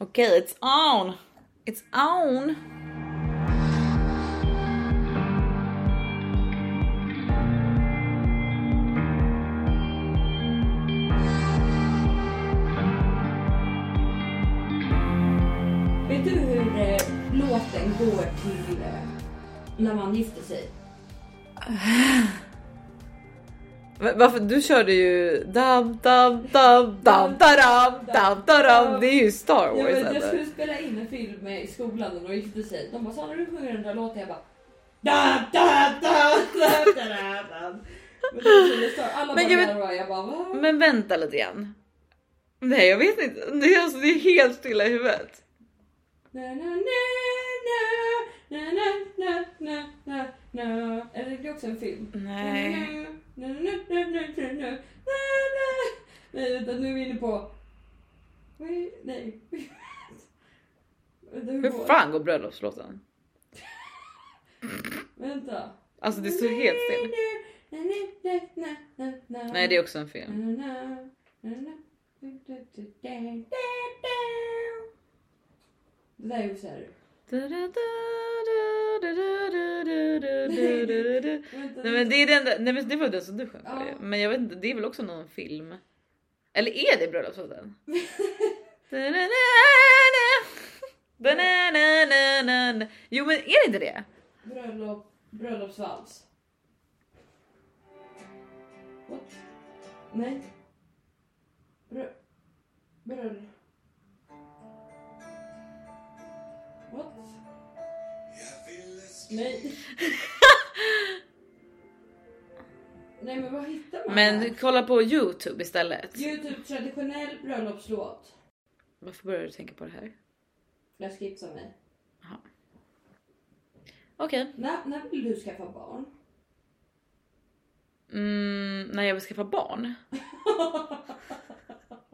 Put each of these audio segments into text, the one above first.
Okej, it's on! It's on! Vet du hur eh, låten går till eh, när man gifter sig? Va- Varför? Du körde ju dam dam dam dam daram dam daram. Det är ju Star Jag, Wars. vet, jag eller? skulle spela in en film eh, i skolan när de gifte sig. De bara, Sanna du sjunger den där låten. Jag bara, da, da, da, da, da, da, da. Men det var så det står. Alla Men bara, jag jag, vet- jag bara, va? Men vänta lite igen. Nej, jag vet inte. Det är, alltså, det är helt stilla i huvudet. Na, na, na, na, na, na, na, na, na, na. Eller det är också en film. Nej. Na, na, na, na, na, na, na, na. Nej vänta, nu är vi inne på... Nej. nej. Vänta, Hur går det? fan går bröllopslåten? Vänta. Alltså det står helt still. Nej, det är också en film. Det där är ju såhär... Nej men det är den där, nej men det var den som du sjöng på Ja. det. Men jag vet inte, det är väl också någon film? Eller är det bröllopslåten? Da-na-na-na-na-na. Jo men är det inte det? Bröllop, bröllopsvals. What? Nej. Brö... Bröll... What? Nej. Nej men vad hittar man? här? Men kolla på Youtube istället. Youtube typ traditionell bröllopslåt. Varför började du tänka på det här? Jag skipsar mig. Okej. När, när vill du skaffa barn? Mm, när jag vill skaffa barn?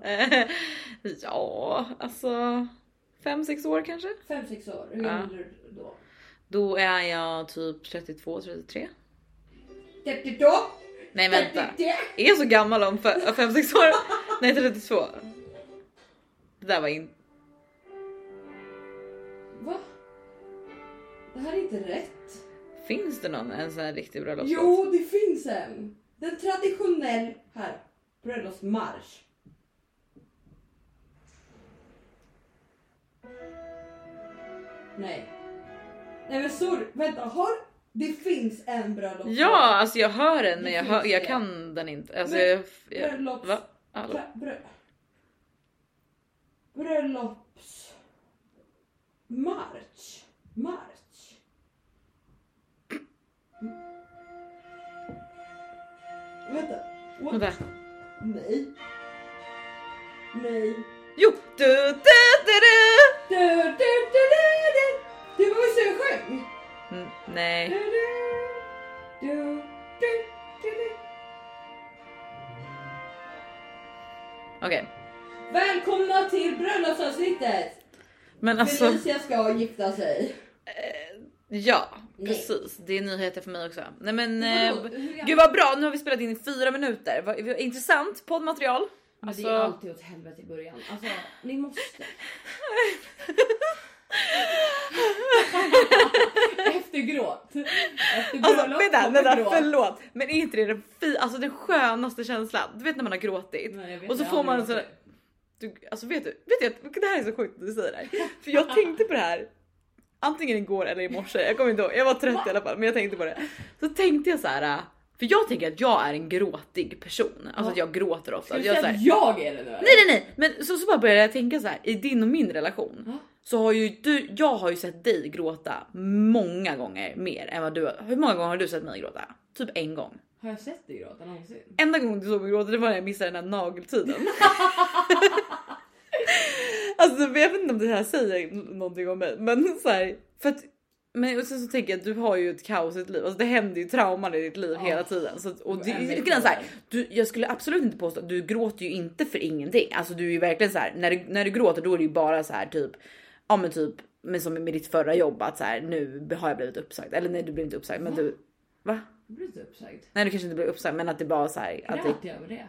Eh, ja, alltså 5-6 år kanske. 5-6 år, hur Ja. gammal är du då? Då är jag typ 32-33. 32! Nej vänta, 33. är jag så gammal om 5-6 år? Nej 32. Det där var in... Va? Det här är inte rätt. Finns det någon en sån här riktig bröllopslåt? Jo, det finns en! Den traditionell här. Bröllopsmarsch. Nej. Nej men sorry, vänta. Har... Det finns en bröllopslåt. Ja, alltså jag hör den men Det jag, finns hör, jag det. kan den inte. Alltså, Men- jag, jag, Bröllops... va? Hallå? Bra- brö... Bröllops... March. March. Mm. Vänta. What? Vänta. Nej. Nej. Jo! Du, du, du, du. Du, du, du, du, du. Det var ju så jag sjöng. Mm, nej. Du, du, du, du, du, du. Okej. Välkomna till bröllopsavsnittet! Men alltså... Felicia ska gifta sig. Eh, ja, Nej. precis. Det är nyheter för mig också. Nej men eh, Vadå? Hur gammal- gud vad bra. Nu har vi spelat in i fyra minuter. Vad, vad intressant poddmaterial. Men Alltså, det är alltid åt helvete i början. Alltså, ni måste. Efter gråt. Efter alltså bröllop vänta, kommer vänta gråt. förlåt. Men är inte det den, fi, alltså, den skönaste känslan? Du vet när man har gråtit. Nej, jag vet Och så inte, får jag har man aldrig en gjort Du, alltså vet du, vet du, att- det här är så sjukt att du säger det här. För jag tänkte på det här antingen igår eller i morse. Jag kommer inte ihåg, jag var trött i alla fall men jag tänkte på det. Så tänkte jag så här. eh, För jag tänker att jag är en gråtig person. Alltså Ja. att jag gråter ofta. det. Ska du jag, säga så här- att jag är det nu eller? Nej nej nej, men så, så bara började jag tänka så här i din och min relation Ja. så har ju du. Jag har ju sett dig gråta många gånger mer än vad du har. Hur många gånger har du sett mig gråta? Typ en gång. Har jag sett dig gråta någonsin? Enda gången du såg mig gråta det var när jag missade den här nageltiden. alltså jag vet inte om det här säger någonting om mig, men så här för att men och sen så tänker jag att du har ju ett kaos i ditt liv, alltså det händer ju trauman i ditt liv Ja. hela tiden. Så, att- och det, Jag är jag, med jag, så här, på du, jag skulle absolut inte påstå att du gråter ju inte för ingenting. Alltså du är ju verkligen så här när du, när du gråter då är det ju bara så här typ ja men typ men som med ditt förra jobb att så här nu har jag blivit uppsagd eller nej du blev inte uppsagd men du va? Jag blir lite uppsagd. Nej du kanske inte blev uppsagd men att det bara så här att det Grät jag över det?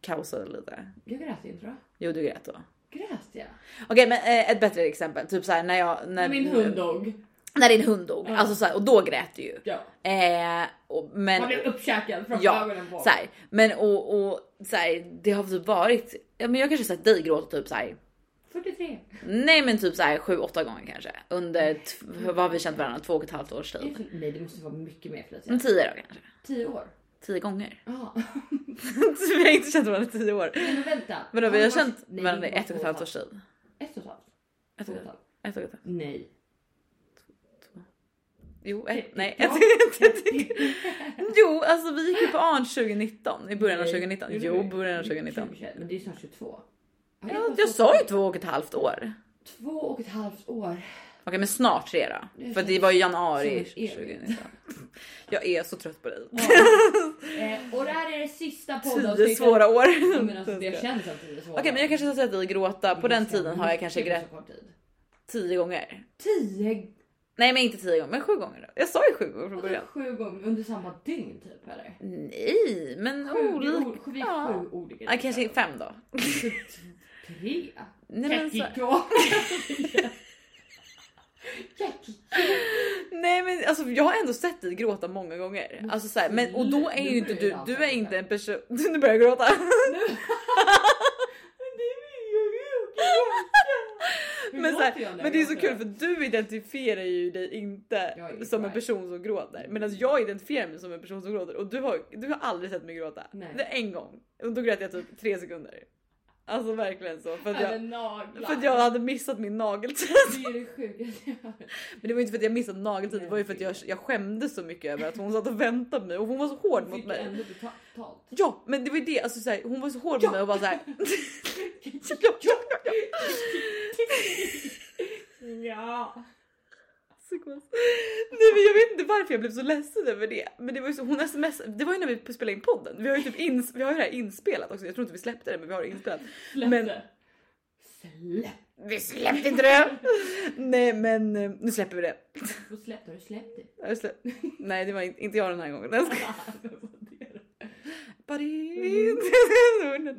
kaosade lite. Jag grät inte då. Jo du grät då. Grät konstiga. Okej men eh, ett bättre exempel, typ såhär när jag... När, När min hund dog. När din hund dog. Ja. Alltså såhär, och då grät du ju. Ja. Eh, och, men... Man blev uppkäkad från Ja, ögonen på. såhär, men och, och såhär, det har typ varit... Ja, men jag kanske sett dig gråta typ såhär 43. Nej men typ så här 7-8 gånger kanske. Under t- vad har vi känt varandra? Två och ett halvt års tid. Nej det måste vara mycket mer Men Felicia. 10 då kanske. 10 år. 10 gånger. Ja. Så vi har inte känt varandra i 10 år. Nej, Men vänta. Men då vi Ja, har det var- känt Nej, varandra i det var ett och två ett halvt års tid. Ett och ett halvt. Ett Två och och ett ett halvt. Ett och halvt. ett halvt. Nej. Jo, ett, nej. Ja. Ett, jo, alltså vi gick ju på ARN 2019. I början av Nej, 2019. gjorde Jo, vi. början av 2019. 2021, Men det är snart 22. Ja, det Ja, var jag så- sa ju två och ett halvt år. Två och ett halvt år. Okej, men snart tre då. Det För känns det var ju januari som ett evigt. 2019. Jag är så trött på dig. Eh, och det här är det sista Tio poddavsnittet. svåra år. Ja, Men alltså, det känns som tio svåra. Okej men jag kanske ska säga att vi gråta, på den Ganska tiden har jag kanske mycket grät på så kort tid. tio gånger. Tio Nej men inte tio gånger, men sju gånger då. Jag sa ju sju gånger från början. Sju gånger under samma dygn typ eller? Nej men Sju, det är olika. o- vi är Ja. sju olika. Typ Ja, kanske fem då. Tre? Nej men, så, Kakiko. nej men alltså jag har ändå sett dig gråta många gånger. Alltså så här, men och då är ju inte du, du är inte en person... Nu börjar jag gråta. Men, så här, men det är så kul för du identifierar ju dig inte Jag är inte som en arg. person som gråter. Medan jag identifierar mig som en person som gråter och du har, du har aldrig sett mig gråta. Nej. Det är en gång och då grät jag typ tre sekunder. Alltså verkligen så. För att jag, Även naglar. för att jag hade missat min nageltid. Det är det sjukaste jag har hört. Men det var ju inte för att jag missat nageltid, det Nej, var ju för att jag, jag skämdes så mycket över att hon satt och väntade på mig och hon var så hård mot Fick mig. ändå betalt. Ja men det var ju det, alltså, så här, hon var så hård mot mig och bara såhär. Ja. Psykos. Nej men jag vet inte varför jag blev så ledsen över det. Men det var ju så, hon sms, det var ju när vi spelade in podden. Vi har ju, typ ins, vi har ju det här inspelat också. Jag tror inte vi släppte det men vi har det inspelat. Släpp Men- det. Släpp. Vi släppte inte det! Nej men eh, nu släpper vi det. Då släppte du släppt det. Jag slä- Nej det var inte, inte jag den här gången. Jag ska- Mm. Buddy.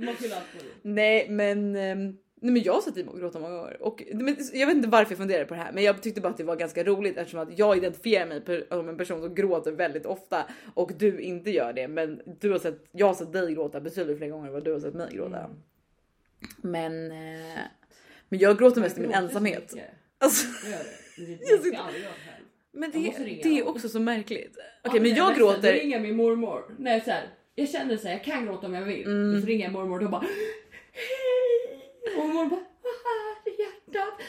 Man skulle alltid vara Nej men, ehm, nej men jag satt i mig och gråta många gånger. Och, men, jag vet inte varför jag funderade på det här men jag tyckte bara att det var ganska roligt eftersom att jag identifierar mig per- som en person som gråter väldigt ofta och du inte gör det. Men du har sett, jag har sett dig gråta betydligt fler gånger än vad du har sett mig gråta. Mm. Men, eh, men jag gråter mest i min gråter så ensamhet. mycket. Alltså, Jag gör det. Det- Jag Jag sitter- ska aldrig göra det själv. men Jag det, måste ringa det är dem. också så märkligt. Okej Ja, men jag nästan. Då gråter. ringer min mormor. Nej, så här, jag känner så här, jag kan gråta om jag vill. Mm. Och så ringer jag mormor och då bara Hej! Och mormor bara Vad här i hjärtat?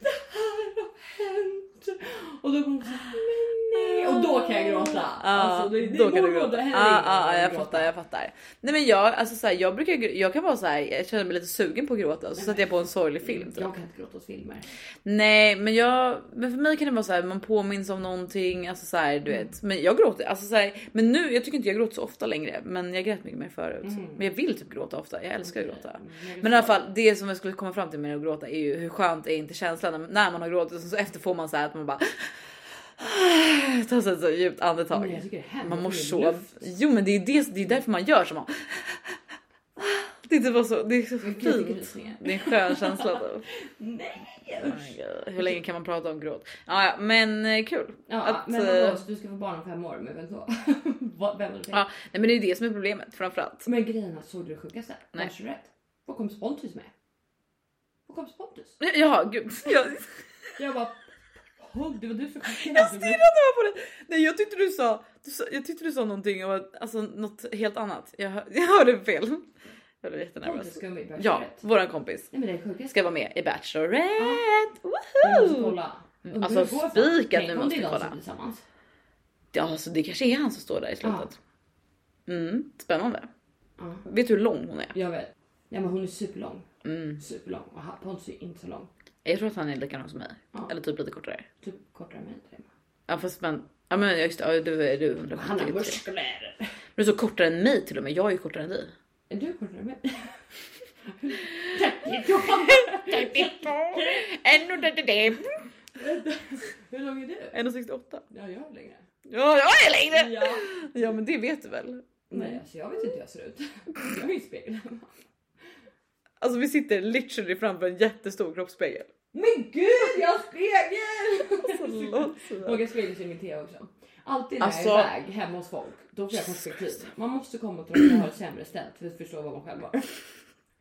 Det här har hänt. Och då kommer hon så här, men nej. Och då kan jag gråta. Ja, alltså, det, det då är kan du mormor, gråta. det Ja, händer ah, inget ah, annat än jag att gråta. fattar, jag fattar. Nej men jag, alltså så här, jag brukar ju- jag kan vara så här, jag känner mig lite sugen på att gråta så sätter jag på en sorglig film. Typ. Jag kan inte gråta åt filmer. Nej men jag, men för mig kan det vara så här, man påminns om någonting, alltså så här, Mm. du vet. Men jag gråter, alltså så här, men nu, jag tycker inte jag gråter så ofta längre men jag grät mycket mer förut. Mm. Men jag vill typ gråta ofta, jag älskar att gråta. Mm, jag Men i alla fall det som jag skulle komma fram till med att gråta är ju hur skönt är inte känslan när- när man har gråtit och så efter får man så här att man bara tar sig ett så djupt andetag. Men jag tycker det är hemskt. Man mår Det är så... luft. Jo men det är, det, det är därför man gör som man... Det är, typ bara så, det är så Jag fick fint. rysningar. Det är en skön känsla. Oh Då. Nej Oh my usch. God. Hur länge kan man prata om gråt? Ja, ja, men eh, kul. Ja, Att, men eh, vadå, så du ska få barn om fem år, men vem då? Vad- vem har du tänkt? Ja. Nej, men det är det som är problemet framförallt. Men grejen är, såg du det sjukaste? Nej. Kanske rätt. Vad kom Pontus med? Vad kom Pontus? Ja, gud. Jag, Jag bara... Hugg, det var du som kom jag stirrade bara på det. Nej, jag tyckte du sa, du sa, jag tyckte du sa någonting om att, alltså, något helt annat. Jag, hör- jag hörde fel. Jag blev Pontus jättenervös. ska med i Bachelorette. Ja, våran kompis Nej men det är sjukaste. ska vara med i Bachelorette. Vi måste Woho! kolla. Undrar alltså, hur det går för- spikat, Tänk vi om måste det är de kolla. som är Tillsammans. Ja, alltså det kanske är han som står där i slutet. Mm, spännande. Ja, Vet du hur lång hon är? jag vet. Nej men hon är superlång. Mm. Superlång. Och han- Pontus är inte så lång. Jag tror att han är likadan som mig. Ja. Eller typ lite kortare. Typ kortare än mig. tror jag. Ja fast men, ja men just det, ja, du är du är Han har 173. muskler. Du är så kortare än mig till och med, jag är ju kortare än dig. Är du kortare än mig? 32. Ännu det det. Hur lång är du? 168. Ja, jag är längre. Ja, jag är längre! Ja. Ja men det vet du väl? Nej, alltså jag vet inte hur jag ser ut. Jag är ju spegeln. Alltså vi sitter literally framför en jättestor kroppsspegel. Men gud, jag har spegel! Alltså, låt sådär. Våga spegla sig i min tv också. Alltid när Alltså- jag är iväg hemma hos folk, då får jag perspektiv. Man måste komma till de som har det sämre ställt för att förstå vad man själv har.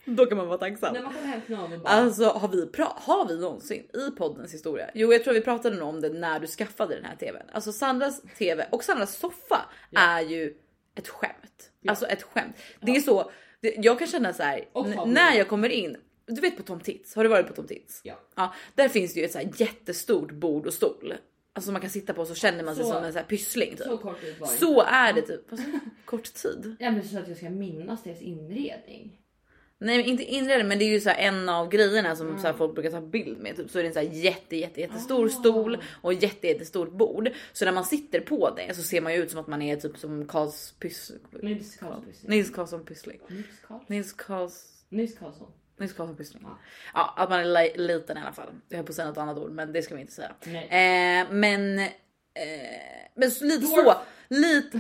Då kan man vara tacksam. När man kommer hem till någon och bara... Alltså har vi, pra- har vi någonsin i poddens historia? Jo, jag tror vi pratade nog om det när du skaffade den här tvn. Alltså Sandras tv och Sandras soffa är ju ett skämt. Alltså ett skämt. Det är så det, jag kan känna så här Och n- favorit. när jag kommer in. Du vet på Tom Tits, har du varit på Tom Tits? Ja. ja där finns det ju ett så här jättestort bord och stol. Alltså man kan sitta på och så känner man sig Så- som en så här pyssling. Typ. så Så, kort ut var det. är det typ. Alltså, kort tid. Ja, men så att jag ska minnas deras inredning. Nej men inte inredning men det är ju så här en av grejerna som så här folk brukar ta bild med. Typ. Så är det en så här jätte, jätte, jättestor stol och ett jätte, jättestort bord. Så när man sitter på det så ser man ju ut som att man är typ som Karls Pys... Nils Karlsson. Nils Karlsson Pyssling. Nils Karlsson. Nils Karls... Nils Karlsson. Nils Karlsson Pyssling. Ja. Ja att man är li- liten i alla fall. Jag höll på att säga något annat ord men det ska vi inte säga. Nej. Eh, men... Eh, men så, lite Dwarf. så. Lite...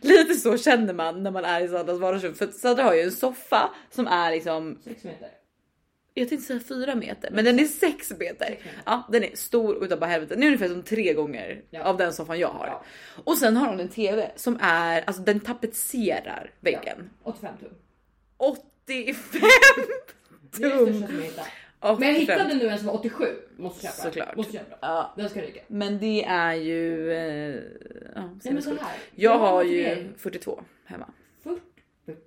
Lite så känner man när man är i Sandras vardagsrum. För att Sandra har ju en soffa som är liksom Sex meter. jag tänkte säga fyra meter, men den är sex meter. Sex meter. Ja, den är stor utav bara helvete. Den är ungefär som tre gånger Ja. av den soffan jag har. Ja. Och sen har hon en TV som är, alltså den tapetserar väggen. 85 tum. 85 Det är det tum! största som jag hittade. Och Men jag fem. hittade nu en som var 87. Måste köpa. Såklart. Måste köpa. Ja. Den ska ryka. Men det är ju... Eh, ja, Nej men sinnessjukt. så här. jag en har ju motivering. 42 hemma. 40.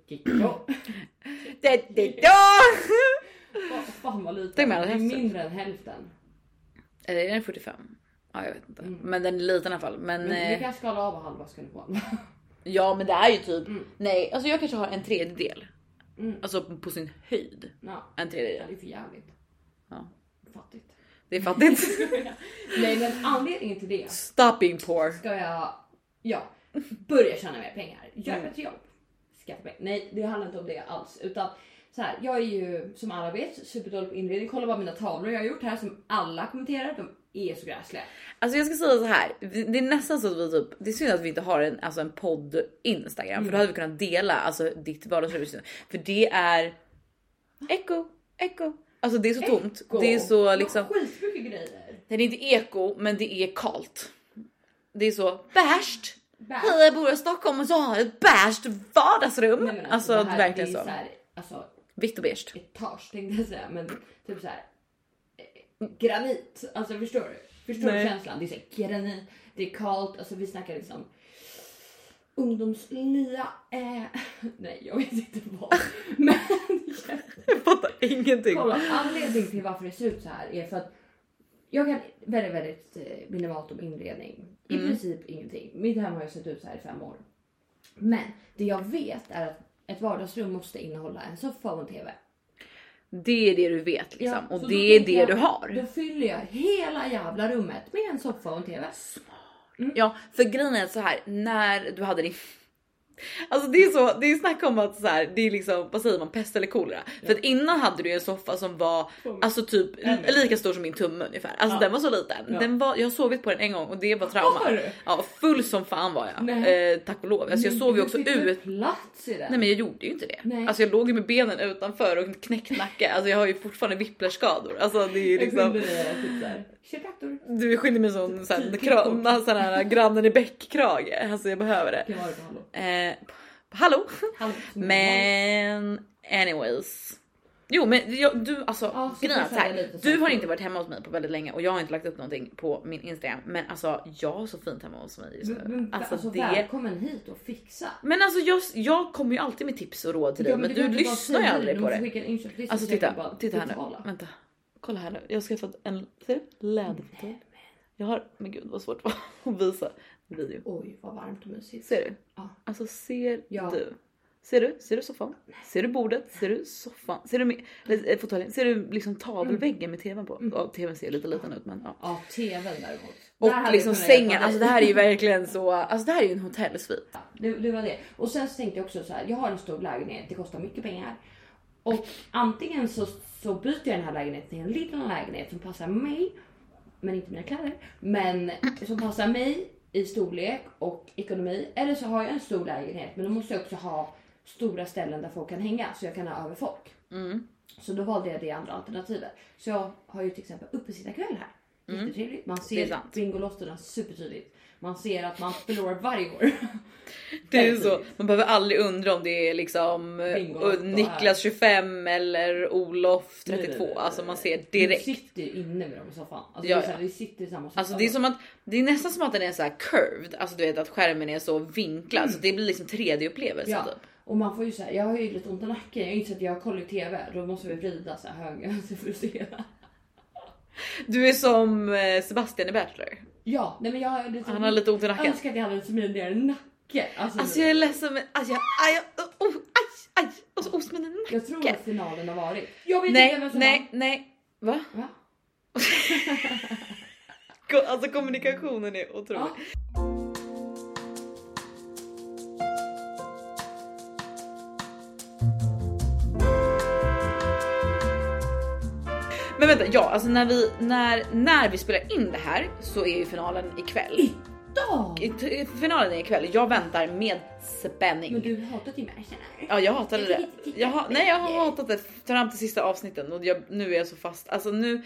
42. Det, det, Vad fan vad lite. Tänk mig alla det är hälften. mindre än hälften. Eller är den 45? Ja, jag vet inte. Men den är liten i alla fall. Mm. Men, Men eh, vi kan skala av halva ska ni få. Ja men det är ju typ, nej alltså jag kanske har en tredjedel. Alltså på sin höjd. Ja. En Det tredjedel. är för jävligt. Ja. Fattigt. Det är fattigt. Nej men anledningen till det Stop being poor. ska jag ja, börja tjäna mer pengar. Gör Mm. ett jobb. Skaffa pengar. Nej det handlar inte om det alls. Utan så här, jag är ju som alla vet superdålig på inredning. Kolla bara mina tavlor jag har gjort här som alla kommenterar. De är så gräsliga. Alltså jag ska säga så här. det är nästan så att vi typ, det är synd att vi inte har en, alltså en podd Instagram för då hade vi kunnat dela alltså ditt vardagsrum. För det är eko, eko. Alltså det är så tomt. Gå. Det är Jag så har liksom, Skitmycket grejer. det är inte eko men det är kalt. Det är så behärskt. Bärs. Hej jag bor i Stockholm och så har jag ett beige vardagsrum. Nej, men alltså det det här, verkligen det är så. så här, alltså Vitt och beige. etage tänkte jag säga, men typ så här. eh, Granit, alltså förstår du? Förstår Nej. du känslan? Det är så här, granit, det är kallt, alltså vi snackar liksom ungdomslia. Eh, nej, jag vet inte vad. Men Jag fattar ingenting. kolla, anledningen till varför det ser ut så här är för att jag kan väldigt, väldigt eh, minimalt om inredning. I princip ingenting. Mitt hem har ju sett ut så här i fem år. Men det jag vet är att ett vardagsrum måste innehålla en soffa och en TV. Det är det du vet Ja, liksom så och då det är det tänker jag- Mm. du har. Då fyller jag hela jävla rummet med en soffa och en TV. Ja, för grejen är så här när du hade din Alltså det är så, det är snack om att så här, det är liksom, vad säger man, pest eller kolera. För att innan hade du ju en soffa som var alltså typ En meter. lika stor som min tumme ungefär. Alltså Ja. den var så liten. Ja. Den var, jag har sovit på den en gång och det var Har trauma. du? Ja, full som fan var jag. Nej. Eh, tack och lov. Alltså jag Men sov ju du också fick väl ut plats i den. Nej men jag gjorde ju inte det. Nej. Alltså jag låg ju med benen utanför och knäckt nacke. Alltså jag har ju fortfarande whiplashskador. Alltså det är ju liksom. eh, typ Kiropraktor. Du skyller mig som sån här kram- sån här grannen i bäckkrage. Alltså jag behöver det. Kan vara det, hallå. Eh, hallå? Hallå, som normal. Men anyways. Jo men jag, du alltså Ja, så grejen är får jag så säga här, lite så. Du har inte varit hemma hos mig på väldigt länge och jag har inte lagt upp någonting på min Instagram. Men alltså jag har så fint hemma hos mig just Men- nu. men Alltså Alltså det. välkommen hit och fixa. Men alltså jag, jag kommer ju alltid med tips och råd till dig Ja, men kan du inte bara lyssnar ju säga aldrig Du på måste det. skicka en inköpslista Alltså så jag kan titta, bara titta här betala. nu. Vänta. Kolla här nu. Jag har skaffat en ser du? läderfåtölj. Jag har, men gud vad svårt det var att visa video. Oj vad varmt och mysigt. Ser du? Ja. Alltså ser Ja. du? Ser du? Ser du soffan? Ser du bordet? Ser du soffan? Ser du med, eller, eh, fåtöljen? Ser du liksom tavelväggen med tvn Mm. på? Ja, tvn ser lite liten ut men ja. Ja tvn däremot. Där hade Och jag liksom kunnat hjälpa sängen, dig. alltså det här är ju verkligen så, alltså det här är ju en hotellsvit. Ja, Det, det var det. Och sen så tänkte jag också så här, jag har en stor lägenhet, det kostar mycket pengar. Och antingen så, så byter jag den här lägenheten till en liten lägenhet som passar mig, men inte mina kläder, men som passar mig i storlek och ekonomi. Eller så har jag en stor lägenhet, men då måste jag också ha stora ställen där folk kan hänga så jag kan ha över folk. Mm. Så då valde jag det andra alternativet. Så jag har ju till exempel uppesittarkväll här. Jättetrevligt. Man Mm. Det är ser sant. Bingolotterna supertydligt. Man ser att man förlorar varje år. Det är ju så. Man behöver aldrig undra om det är liksom eh, Bingo. Niklas 25 eller Olof 32. Alltså man ser direkt. Du sitter ju inne med dem i soffan. Alltså, Ja, det är så ja. här, vi sitter i samma soffa. Alltså det är som att det är nästan som att den är så här curved, alltså du vet att skärmen är så vinklad så det blir liksom 3D upplevelse Ja. typ. Och man får ju så här, jag har ju lite ont i nacken. Jag inser att jag har kollat TV. Då måste vi vrida så här höger vänster för att se. Du är som eh, Sebastian i Bachelor. Ja, nej men jag har lite Han har lite ont i Jag nacken. önskar att jag hade en smidigare nacke. Alltså, Alltså jag är ledsen men alltså jag, aj, oh, aj, aj, och så ont i min nacke. jag tror att finalen har varit. Jag vet inte Nej, vem som nej, nej. Va? vann. Va? Ko- Alltså kommunikationen är otrolig. Ja. Men vänta, ja alltså när vi, när, när vi spelar in det här så är ju finalen ikväll. Dag! I- t- Finalen är ikväll, jag väntar med spänning. Men du hatar ju mig känner Ja jag hatade Jag det. fick inte titta Jag ha, på nej jag har det. hatat det fram till sista avsnitten och jag, nu är jag så fast. Alltså nu,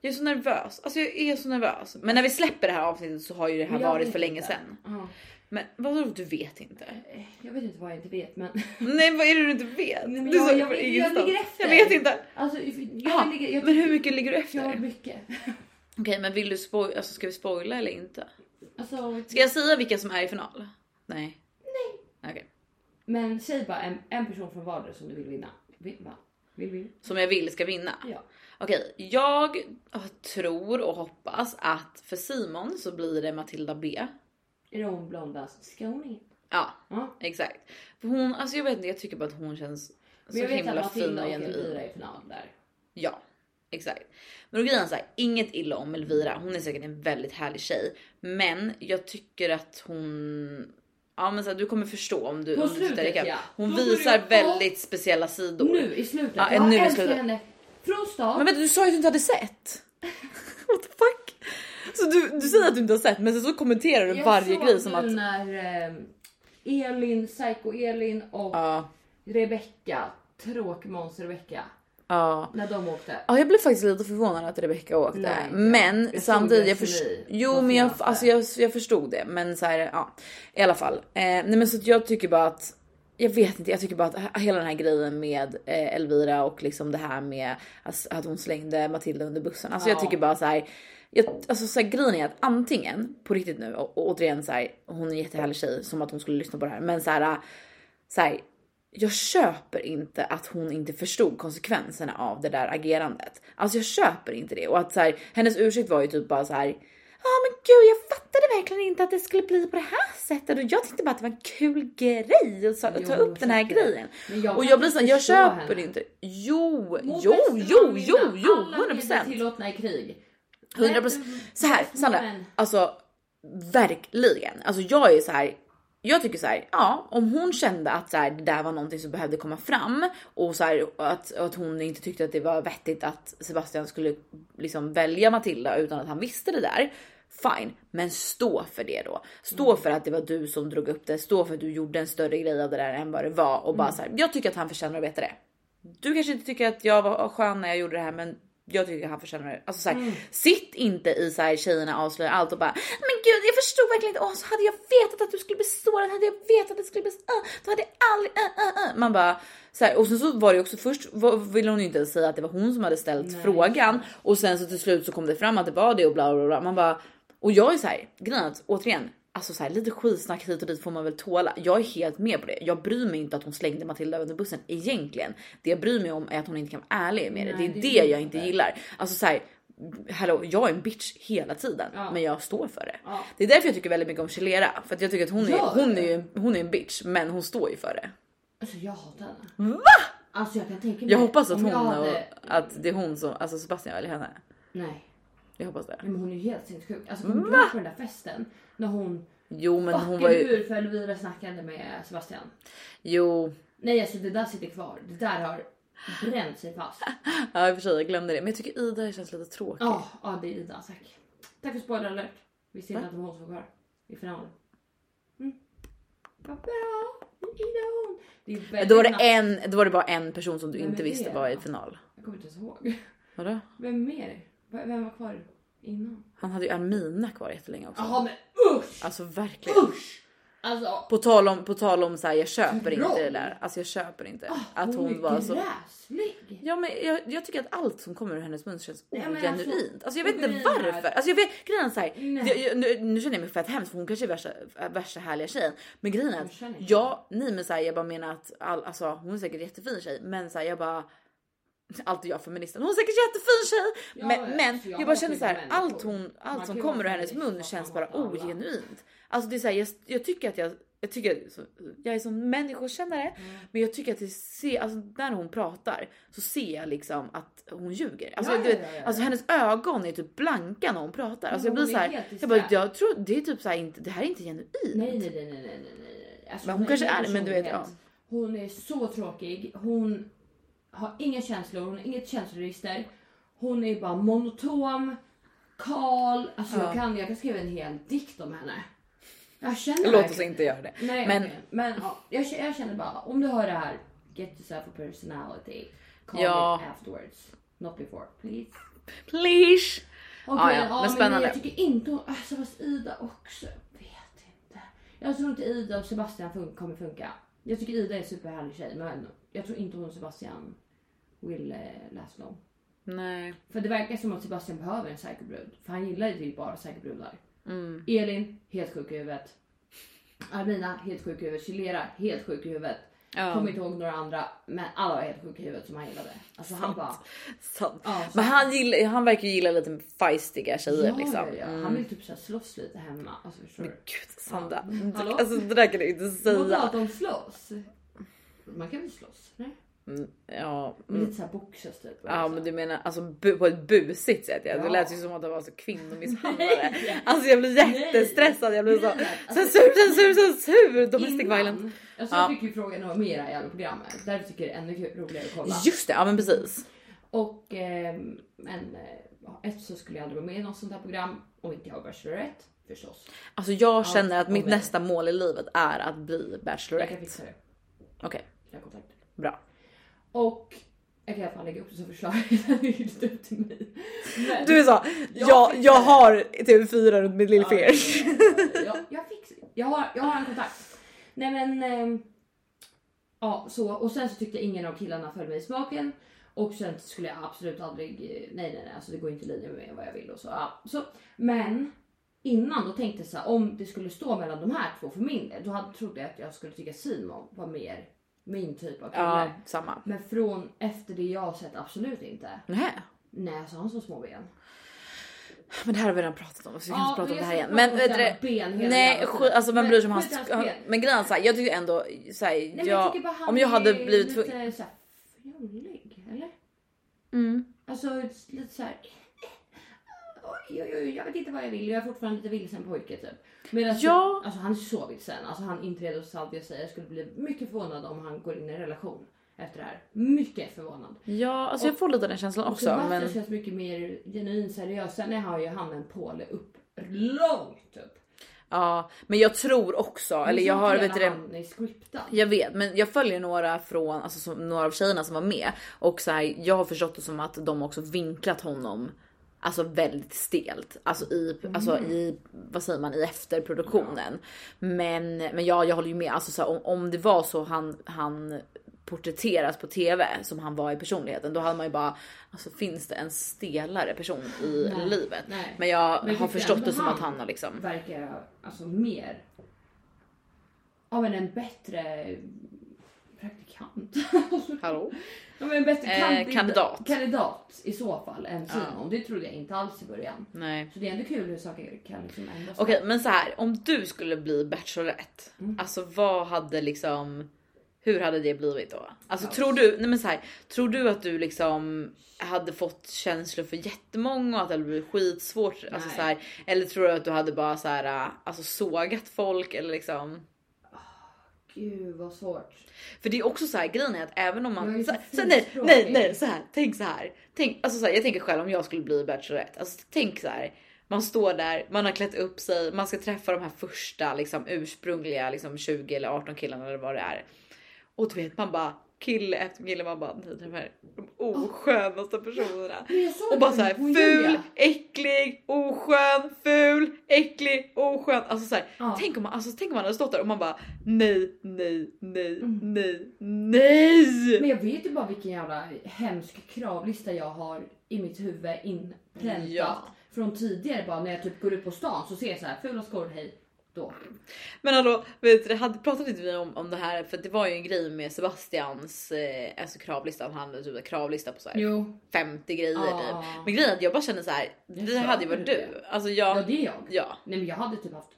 jag är så nervös. Alltså jag är så nervös. Men när vi släpper det här avsnittet så har ju det här Men jag varit vet för länge inte. sedan. Ja. Men vadå du vet inte? Eh, Jag vet inte vad jag inte vet men. Nej vad är det du inte vet? Nej, men du jag- sa jag- från jag ingenstans. ligger efter. Jag vet inte. Alltså, jag Jaha, ligger, jag, Men hur mycket ligger du efter? Jag har Okej mycket. men vill du spoil, alltså, ska vi spoila eller inte? Alltså, Ska jag säga vilka som är i final? Nej. Nej. Okej. Men säg bara en, en person från vardera som du vill vinna. Vill, va? vill, vill. Som jag vill ska vinna. Ja. Okej, jag tror och hoppas att för Simon så blir det Matilda B. Är det hon blondast? Skåningen? Ja, Ja. exakt. För hon, alltså jag vet inte, jag tycker bara att hon känns Men så jag vet att himla fin Matilda och och genuin. Elvira är i final där. Ja, exakt. Men då grejen är så här, inget illa om Elvira. Hon är säkert en väldigt härlig tjej, men jag tycker att hon Ja men så här, du kommer förstå om du, På om du tittar slutet, ikapp. ja. Hon Då börjar- visar ja. väldigt speciella sidor. Nu i slutet. Ja, jag nu i älskar slutet. henne. Från start. Men vänta du sa ju att du inte hade sett. What the fuck? Så du, du säger att du inte har sett men sen så kommenterar du jag varje såg grej som nu att... när eh, Elin, Psycho-Elin och Ja, Rebecca, tråkmåns-Rebecca, ja. när de åkte. Ja jag blev faktiskt lite förvånad att Rebecca åkte. Nej, inte jag. men Jag samtidigt, såg jag, det förs- i jo, de men jag, senaste. alltså, jag, jag förstod det. Men så här, ja. I alla fall. Eh, nej men så att jag tycker bara att jag vet inte, jag tycker bara att he- hela den här grejen med eh, Elvira och liksom det här med att, att hon slängde Matilda under bussen. Alltså jag Ja. tycker bara så här. Jag, alltså så här, grejen är att antingen på riktigt nu och, och återigen så här, hon är en jättehärlig tjej som att hon skulle lyssna på det här, men så här, eh, så här jag köper inte att hon inte förstod konsekvenserna av det där agerandet. Alltså jag köper inte det och att så här, hennes ursäkt var ju typ bara så här. Ja men gud jag fattade verkligen inte att det skulle bli på det här sättet och jag tyckte bara att det var en kul grej att ta, Jo, ta upp den här säkert. grejen. Men jag och kan jag blir inte såhär, jag förstå köper henne. inte. Jo, Mot jo, bästa jo, man jo, vinner. jo, Alla 100 medel procent. tillåtna i krig. 100 procent. Så här Sandra, Men- alltså verkligen. Alltså jag är så här. Jag tycker så här, ja om hon kände att så här, det där var någonting som behövde komma fram och så här, att, att hon inte tyckte att det var vettigt att Sebastian skulle liksom välja Matilda utan att han visste det där. Fine, men stå för det då. Stå för att det var du som drog upp det, stå för att du gjorde en större grej av det där än vad det var och bara så här. Jag tycker att han förtjänar att veta det. Du kanske inte tycker att jag var skön när jag gjorde det här, men jag tycker att han förtjänar det. Alltså, så här, Sitt inte i så här tjejerna avslöjar allt och bara men gud, jag förstod verkligen inte. Åh, så hade jag vetat att du skulle bli sårad, hade jag vetat att det skulle bli så, uh, då hade jag aldrig. Uh, uh, uh. Man bara så här, och sen så var det ju också först var- ville hon ju inte ens säga att det var hon som hade ställt Nej. frågan och sen så till slut så kom det fram att det var det och bla bla bla. Man bara och jag är så här grejen är att återigen Alltså så här, lite skitsnack hit och dit får man väl tåla. Jag är helt med på det. Jag bryr mig inte att hon slängde Matilda under bussen egentligen. Det jag bryr mig om är att hon inte kan vara ärlig med det. Nej, det är det det är jag det. inte gillar. Alltså så här, hallå, jag är en bitch hela tiden, Ja. men jag står för det. Ja. Det är därför jag tycker väldigt mycket om Chilera för att jag tycker att hon är, Ja. hon är ju hon är en bitch, men hon står ju för det. Alltså jag hatar henne. Va? Alltså jag kan tänka mig. Jag hoppas att om hon jag och, hade- att det är hon som alltså Sebastian väljer henne. Nej, Jag hoppas det. nej, men hon är ju helt sinnessjuk. Alltså kommer du ihåg på den där festen när hon Jo, men hon fucking var ju. ur för Elvira snackade med Sebastian? Jo, Nej alltså det där sitter kvar. Det där har bränt sig fast. ja, i och för sig, jag glömde det, men jag tycker Ida känns lite tråkig. Ja, ja, det är Ida. Tack. Tack för spoiler alert. Vi ser inte att de hålls kvar i finalen. Mm. Vad bra, Ida hon. Det är väldigt Då var, det na- en, då var det bara en person som du Vem inte är visste det? var i final. Jag kommer inte ens ihåg. Vadå? Vem mer? V- Vem var kvar innan? Han hade ju Armina kvar jättelänge också. Jaha men usch! Alltså verkligen. Usch! Alltså På tal om, på tal om så här, jag köper inte Troll. det där. Alltså jag köper inte. ah, att hon är var så. gräslig. Ja, men jag, jag tycker att allt som kommer ur hennes mun känns Ja, men ogenuint. alltså, alltså, jag vet inte grejen är- varför. Alltså, jag vet, grejen är så här, Nej. jag, jag, nu, nu känner jag mig fett hemskt för hon kanske är värsta, värsta härliga tjejen. Men grejen är Hon att känner inte. jag, nej, men så här, jag bara menar att all, alltså, hon är säkert en jättefin tjej men så här, jag bara Alltid jag feministen. Hon är säkert en jättefin tjej! Ja, men men alltså, jag jag, bara hatar känner ju så här, människor. allt, hon, Man allt som kan ju kommer ur vara hennes feminist mun fast känns man bara hatar alla. ogenuint. Alltså det är så här, jag, jag tycker att jag, jag tycker, så- jag är som människokännare men jag tycker att det ser, alltså, när hon pratar så ser jag liksom att hon ljuger. Alltså, Ja, du ja, vet, ja, ja, alltså ja. hennes ögon är typ blanka när hon pratar. Alltså, jag hon blir så är här, helt jag bara, disträ. jag tror det är typ så här, inte, det här är inte genuint. Nej, nej, nej, nej, nej, nej, nej. Alltså, Men hon kanske ingen är det, men du vet, personlighet. Hon är så tråkig. Hon har inga känslor, hon har inget känsloregister. Hon är bara monotom, kal. Alltså jag, Ja. kan, jag kan skriva en hel dikt om henne. Jag känner Låt oss verkligen- inte göra det. Nej, Men- men, men ja, jag, kä- jag känner bara om du hör det här, get yourself a personality. Call Ja. it afterwards. Not before, please. Please! Okej, Ja, ja, men spännande. Jag tycker inte hon... Alltså fast Ida också. Vet inte. Jag tror inte Ida och Sebastian fun- kommer funka. Jag tycker Ida är en superhärlig tjej men jag tror inte hon och Sebastian vill eh, last long. Nej. För det verkar som att Sebastian behöver en säkerbrud. För han gillar ju typ bara säkerbrudar. Mm. Elin, helt sjuk i huvudet. Armina, helt sjuk i huvudet. Chilera, helt sjuk i huvudet. Ja. Kommer inte ihåg några andra men alla var helt sjuka i huvudet som han gillade. Alltså han Sant. bara... Sant. Ja, sant. Men han, gillar, han verkar ju gilla lite feistiga tjejer Ja, liksom. ja, ja. Mm. Han vill typ så här slåss lite hemma. Alltså, förstår Men du? gud Sandra, Ja. Mm. Hallå? alltså det där kan du inte Vadå säga. att de slåss? Man kan väl slåss? Nej? Mm, ja, Men mm. Lite såhär boxas typ. Ja men du menar alltså bu- på ett busigt sätt. Ja. Det Ja. lät ju som att det var så kvinnomisshandlare. Nej! Alltså jag blir Nej. jättestressad. Jag blir så Grejen är att- censur, censur, censur! Domestic Innan- violence. Alltså Ja. jag fick ju frågan om mera i alla programmet. Därför tycker jag det är ännu kul- roligare att kolla. Just det, ja men precis. Och ehm, men eh, ja, ett så skulle jag aldrig vara med i något sånt här program. Om inte jag var Bachelorette förstås. Alltså jag känner att och mitt mig. nästa mål i livet är att bli Jag kan Bachelorette. fixa det. Okej, Jag har kontakter. bra. Och jag kan i alla fall lägga upp det som förslag. det är lite upp till mig. Men- Du är så, Jag jag, fixar jag det. har TV4 runt mitt lillfinger. Ja, jag, fix, jag, har, jag har en kontakt. Nej men... ehm, ja, så. Och sen så tyckte ingen av killarna föll mig i smaken. Och sen skulle jag absolut aldrig... eh, Nej nej nej, alltså det går inte i linje med vad jag vill och så. Ja, så. Men innan då tänkte jag så här, om det skulle stå mellan de här två för min del, då hade, trodde jag att jag skulle tycka Simon var mer min typ av kille. Ja, samma. Men från efter det jag har sett, absolut inte. Nej. Nej alltså han har så små ben. Men det här har vi redan pratat om så vi kan Ja, inte prata om men det jag här igen. ska Men prata om vet du det? sina ben hela Nej jävla skit, tiden. alltså vem Men bryr sig om hans... skit i hans ben. Men grejen är såhär, jag tycker ändå såhär, Nej, men jag jag, tycker bara han om jag hade är blivit tvungen... lite såhär fjollig, eller? Mm. Alltså lite såhär... Oj, oj, oj, jag vet inte vad jag vill. Jag är fortfarande lite vilsen pojke typ. Medan Ja. alltså, han är så vilsen. Alltså, han inträder hos allt jag säger. Jag skulle bli mycket förvånad om han går in i en relation efter det här. Mycket förvånad. Ja, alltså jag får lite den känslan Och också. Sebastian Men... känns mycket mer genuin seriös. Sen har ju han en påle upp långt typ. upp. Ja, men jag tror också, eller jag har vet du det, Han är scriptad. jag vet, men jag följer några från, alltså som, några av tjejerna som var med och så här, jag har förstått det som att de också vinklat honom Alltså väldigt stelt, alltså i, alltså i vad säger man i efterproduktionen. Men, men ja, jag håller ju med. Alltså så här, om, om det var så han, han porträtteras på TV som han var i personligheten, då hade man ju bara alltså finns det en stelare person i Nej, livet? nej. Men jag Men jag har tycker förstått ändå det som han- att han har liksom. verkar alltså mer av en, en bättre praktikant. Hallå? ja, men en bättre Eh, kandid- kandidat. kandidat i så fall än Simon. Det trodde jag inte alls i början. Nej. Så det är ändå kul hur saker kan liksom ändras. Okej, men så här om du skulle bli Bachelorette, Mm. alltså vad hade liksom? Hur hade det blivit då? Alltså tror du? Nej, men så här tror du att du liksom hade fått känslor för jättemånga och att det hade blivit skitsvårt? Alltså Nej. så här, eller tror du att du hade bara så här alltså sågat folk eller liksom? Gud vad svårt. För det är också så här grejen är att även om Jag är man ju så här, så så här, nej, finspråkig. nej, nej, så här. Tänk så här. Tänk alltså så här, jag tänker själv om jag skulle bli Bachelorette, alltså tänk så här Man står där, man har klätt upp sig, man ska träffa de här första liksom, ursprungliga liksom, 20 eller 18 killarna eller vad det är. Och du vet man bara kille efter kille, man bara nej, de här de oskönaste personerna. Men jag sa Och det, bara så här hon ful, Julia. äcklig, oskön, ful, äcklig, oskön. Alltså så här, Ja. tänk, om man, alltså, tänk om man hade stått där och man bara nej, nej, nej, Mm. nej, nej. Men jag vet ju bara vilken jävla hemsk kravlista jag har i mitt huvud inpräntat. Ja. Från tidigare bara när jag typ går ut på stan så ser jag så här fula skor, hej. Då. Men hallå, vet du, hade pratat lite vi om, om det här för det var ju en grej med Sebastians eh, alltså kravlistan. Han hade typ en kravlista på så här Jo. 50 grejer Ja. typ. Men grejen är att jag bara känner så här. Det Det sa hade ju du varit det. du. Alltså Ja jag. det är jag. Ja. Nej men jag hade typ haft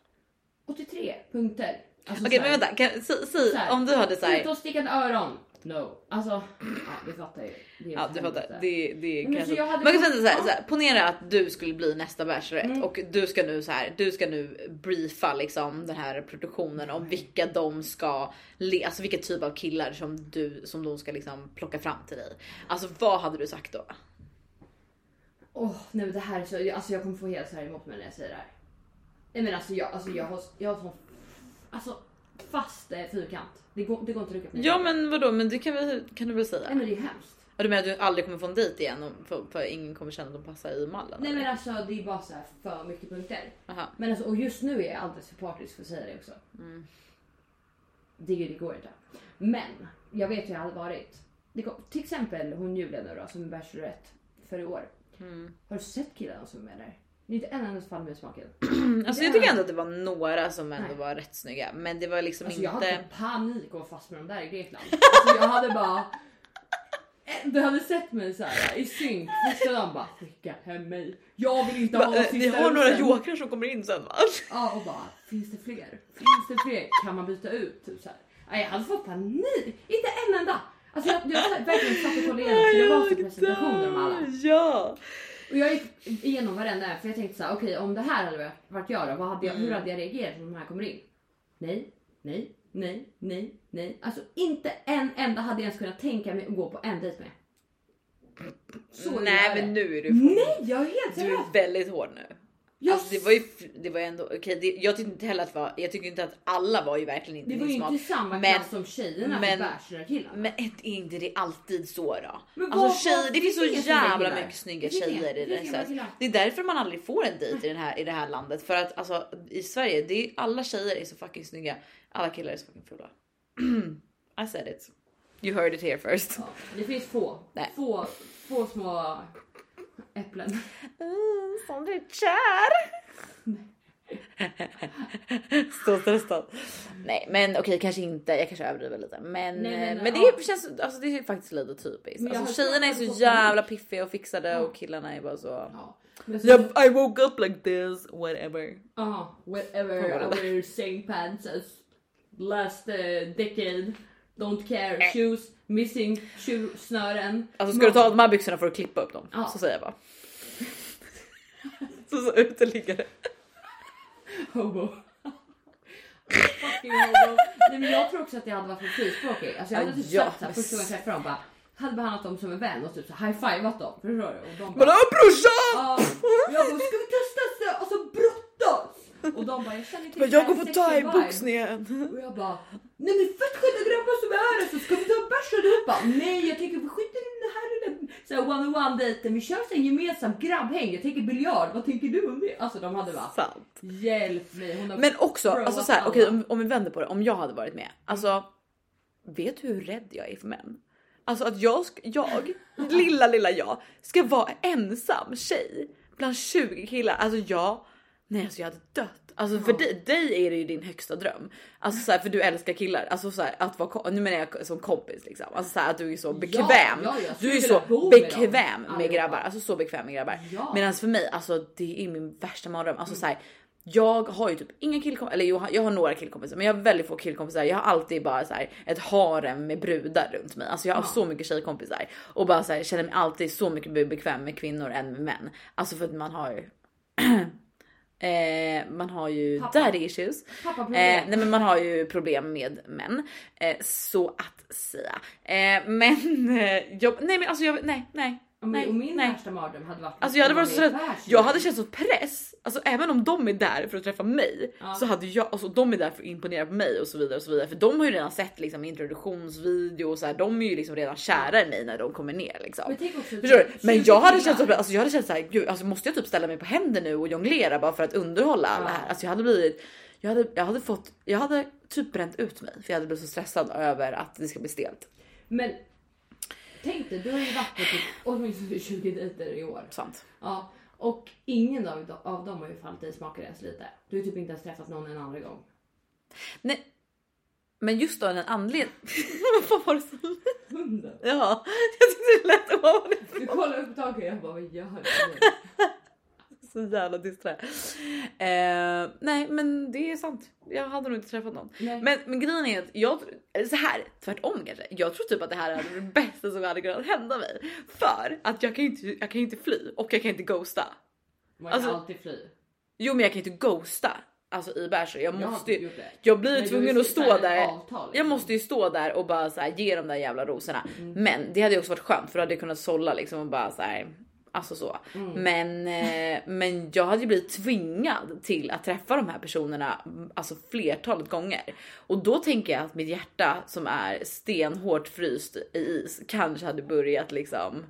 83 punkter. Alltså, Okej så men här, vänta, kan, säg, säg så här, om du hade så här. Utåtstickande öron. No. Alltså, ja, du fattar ju. Det är Ja du fattar, helvete. det, det Men kanske... så jag hade- Man kan säga så här, Ja. så här, ponera att du skulle bli nästa bachelorette Mm. och du ska nu så här, du ska nu briefa liksom den här produktionen om vilka de ska, le- alltså vilka typ av killar som du, som de ska liksom plocka fram till dig. Alltså vad hade du sagt då? Åh, nej men det här är så, alltså jag kommer få helt så här emot mig när jag säger det här. Nej men alltså jag, alltså jag har, jag har sån, alltså fast eh, fyrkant. Det går, det går inte att rycka på mig. Ja men vadå, men det kan, vi, kan du väl säga? Nej men det är hemskt. Ja, Du menar att du aldrig kommer få en dejt igen om- för, för ingen kommer känna att de passar i mallen? Nej eller? men alltså det är bara så här för mycket punkter. Aha. Mm. Men alltså och just nu är jag alldeles för partisk för att säga det också. Det, är ju- det går inte. Men jag vet hur jag hade varit. Det kom, till exempel hon Julia nu då som är bachelorette för i år. Mm. Har du sett killarna som är med där? Det är inte en enda fall med smaken. Alltså jag tycker ändå att det var några som ändå var rätt snygga men det var liksom Alltså jag inte... hade panik att vara fast med dem där i Grekland. Alltså jag hade bara... Eh, Du hade sett mig så här i synk. Första dagen bara skicka hem mig. Jag vill inte ha Va, eh, sista ni har några rosen." jokrar som kommer in sen va? Ja och bara finns det fler? Finns det fler? Kan man byta ut? Typ så här. Nej, jag hade fått panik. Inte en enda. Alltså jag, jag satt- verkligen satt och kollade igenom för det Oh var typ presentationer om alla. Ja! Och jag gick igenom varenda en för jag tänkte så här okej om det här hade varit jag då, vad hade jag, hur Mm. hade jag reagerat om de här kommer in? Nej, nej, nej, nej, nej. Alltså inte en enda hade jag ens kunnat tänka mig att gå på en dejt med. Så Nej illa är men det. nu är du för... Nej jag är helt Du seriös. är väldigt hård nu. Jag Alltså det var ju, det var ju ändå, okej det, jag tyckte inte heller att det var, jag tycker inte att alla var ju verkligen inte det var min ju smak. inte samma Men- klass som men- tjejerna men, på Bachelorkillarna. Men är inte det alltid så då? Men vad- alltså tjejer, vad- det finns det finns så inga snygga jävla killar. mycket snygga Det finns inga- tjejer i det det finns inga här. killar. Det är därför man aldrig får en dejt i, Mm. den här, i det här landet. För att alltså, i Sverige, det är, alla tjejer är så fucking snygga. Alla killar är så fucking fula. I said it. You heard it here first. Ja, det finns få, Nej. få, få små äpplen. Mm, som du är kär. så stressad. Nej men okej kanske inte, jag kanske överdriver lite. Men, eh, Nej, nej, nej, men det ja. känns, alltså, det är faktiskt lite typiskt. Men jag Alltså, har- tjejerna är jag så har- jävla piffiga och fixade Ja. och killarna är bara så... Ja. Men så- Yep, I woke up like this, whatever. Ja, whatever Ja, det- our same pants as last eh, decade. Don't care, shoes, missing, tjuvsnören. Äh. Alltså ska du ta av de här byxorna får du klippa upp dem. Ja. Så säger jag bara. så så uteliggare. Hobo. Fucking hobo. Nej, men jag tror också att jag hade varit för frispråkig. Alltså jag hade Ja, typ ja, sagt såhär men första gången jag träffade dem bara hade behandlat dem som en vän och typ så high-fivat dem. Förstår du? Och de bara, Vadå brorsan? Ja, jag bara, ska vi testa så? Alltså brottas! Och de bara, jag känner till Men jag går den på här sexy thaiboxningen. vibe. Och jag bara, nej men fett sköna grabbar som är här alltså, ska vi ta en bärs allihopa? Nej jag tänker vi skiter i det här lilla såhär one on one dejten, vi kör en gemensam grabbhäng, jag tänker biljard, vad tänker du om det? Alltså de hade bara, Sant. hjälp mig. Hon har Men också, Bro, alltså vad så här, fan. okej om, om vi vänder på det, om jag hade varit med. Alltså, vet du hur rädd jag är för män? Alltså att jag, sk- jag lilla lilla jag, ska vara ensam tjej bland 20 killar. Alltså jag, nej alltså jag hade dött. Alltså för dig, dig är det ju din högsta dröm. Alltså så här, för du älskar killar. Alltså så här, att vara, ko- nu menar jag som kompis liksom. Alltså så här, att du är så bekväm. ja, jag skulle du är vilja så bo med dem bekväm med, allihopa. grabbar. Alltså så bekväm med grabbar. Ja. Medan för mig, alltså det är min värsta mardröm. Alltså så här, jag har ju typ inga killkompisar, eller jo, jag har några killkompisar men jag har väldigt få killkompisar. Jag har alltid bara så här, ett harem med brudar runt mig. Alltså jag har så mycket tjejkompisar. Och bara så här, känner mig alltid så mycket mer bekväm med kvinnor än med män. Alltså för att man har ju... eh, man har ju Pappa. Mm. daddy issues. Pappaproblem. Eh, nej men man har ju problem med män. Eh, så att säga. Eh, men eh, jag, nej men alltså jag, nej, nej. Och min, Nej, och min nej. värsta mardröm hade varit Alltså, jag hade varit att så vara rädd. med i ett Jag hade världsliv. känt sån press, alltså även om de är där för att träffa mig Ja. så hade jag, alltså de är där för att imponera på mig och så vidare och så vidare. För de har ju redan sett liksom introduktionsvideo och så här, de är ju liksom redan kära i mig när de kommer ner liksom. Men tänk också, Förstår du? typ, Men 20 jag hade känt, killar. så- alltså jag hade känt så här, gud, alltså måste jag typ ställa mig på händer nu och jonglera bara för att underhålla alla Ja. här? Alltså jag hade blivit, jag hade, jag hade fått, jag hade typ bränt ut mig för jag hade blivit så stressad över att det ska bli stelt. Men tänk dig, du har ju varit på typ, åtminstone 20 dejter i år. Sant. Ja, och ingen av, av dem har ju fallit i smaken ens lite. Du har typ inte ens träffat någon en andra gång. Nej. Men just då den anledningen. Vad fan var det som... Hunden. Ja, jag tyckte det lät ovanligt. Du kollar upp taket och jag bara, vad gör du? Så jävla disträ. Eh, nej, men det är sant. Jag hade nog inte träffat någon. Nej. Men, men grejen är att jag, eller så här, tvärtom kanske. Jag tror typ att det här är det bästa som hade kunnat hända mig. För att jag kan ju inte, jag kan ju inte fly och jag kan inte ghosta. Man kan Alltså, alltid fly. Jo, men jag kan ju inte ghosta. Alltså i bärs. Jag Jag har måste inte ju. gjort det. Jag blir Men ju du tvungen har att ju stå skrivit där. ett avtal, Jag liksom. måste ju stå där och bara så här, ge de där jävla rosorna. Mm. Men det hade ju också varit skönt för då hade jag kunnat sålla liksom och bara så här. Alltså så. Mm. Men, eh, men jag hade ju blivit tvingad till att träffa de här personerna mm, alltså flertalet gånger. Och då tänker jag att mitt hjärta som är stenhårt fryst i is kanske hade börjat liksom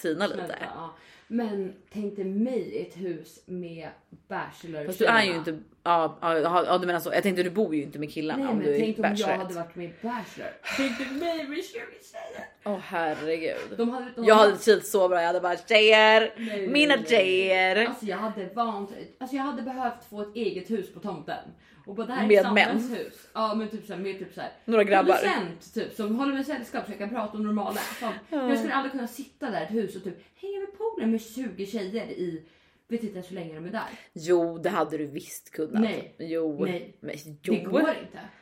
tina lite. Vänta, ja. Men tänk dig mig i ett hus med bachelor Fast du är ju inte... Ja, ja, ja, ja du menar så. Jag tänkte du bor ju inte med killarna Nej om men du tänk är om jag hade bachelorette. varit med i Bachelor. Tänk dig mig med 20 tjejer. Åh herregud. De hade, de Jag hade trivts så bra. Jag hade bara tjejer, Nej, mina nej, nej. tjejer. Alltså jag hade vant, alltså jag hade behövt få ett eget hus på tomten. Och bara, det här Med är Sandras män. hus. Ja men typ såhär, med typ såhär. Några grabbar. Producent typ som håller mig sällskap så jag kan prata om normala. Som, Jag skulle aldrig kunna sitta där i ett hus och typ hänga med poolen med 20 tjejer i, vet inte ens hur länge de är där. Jo, det hade du visst kunnat. Nej. Jo. Nej. Men, jo. Det går inte.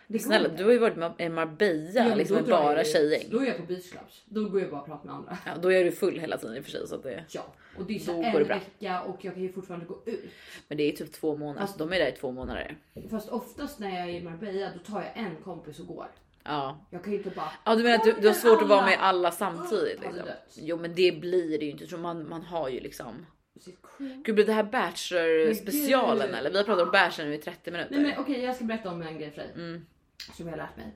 Det går Snälla inte. du har ju varit med- i Marbella men liksom då med drar bara jag ju- tjejgäng. Då är jag på beach clubs. Då går jag bara och pratar med andra. Ja, då är du full hela tiden i och för sig så att det... Ja, och det är Då så går det en bra. vecka och jag kan ju fortfarande gå ut. Men det är typ två månader så de är där i två månader. Fast oftast när jag är i Marbella då tar jag en kompis och går. Ja, Jag kan ju inte bara. ja du menar att du, du har svårt att vara med alla samtidigt Ja, det är liksom. dött. Jo, men det blir det ju inte. Jag tror man, man har ju liksom. Sitt crew. Gud, blir det här bachelor specialen gud. eller? Vi har pratat om bachelor nu i 30 minuter. Nej men okej, jag ska berätta om en grej för dig som jag har lärt mig.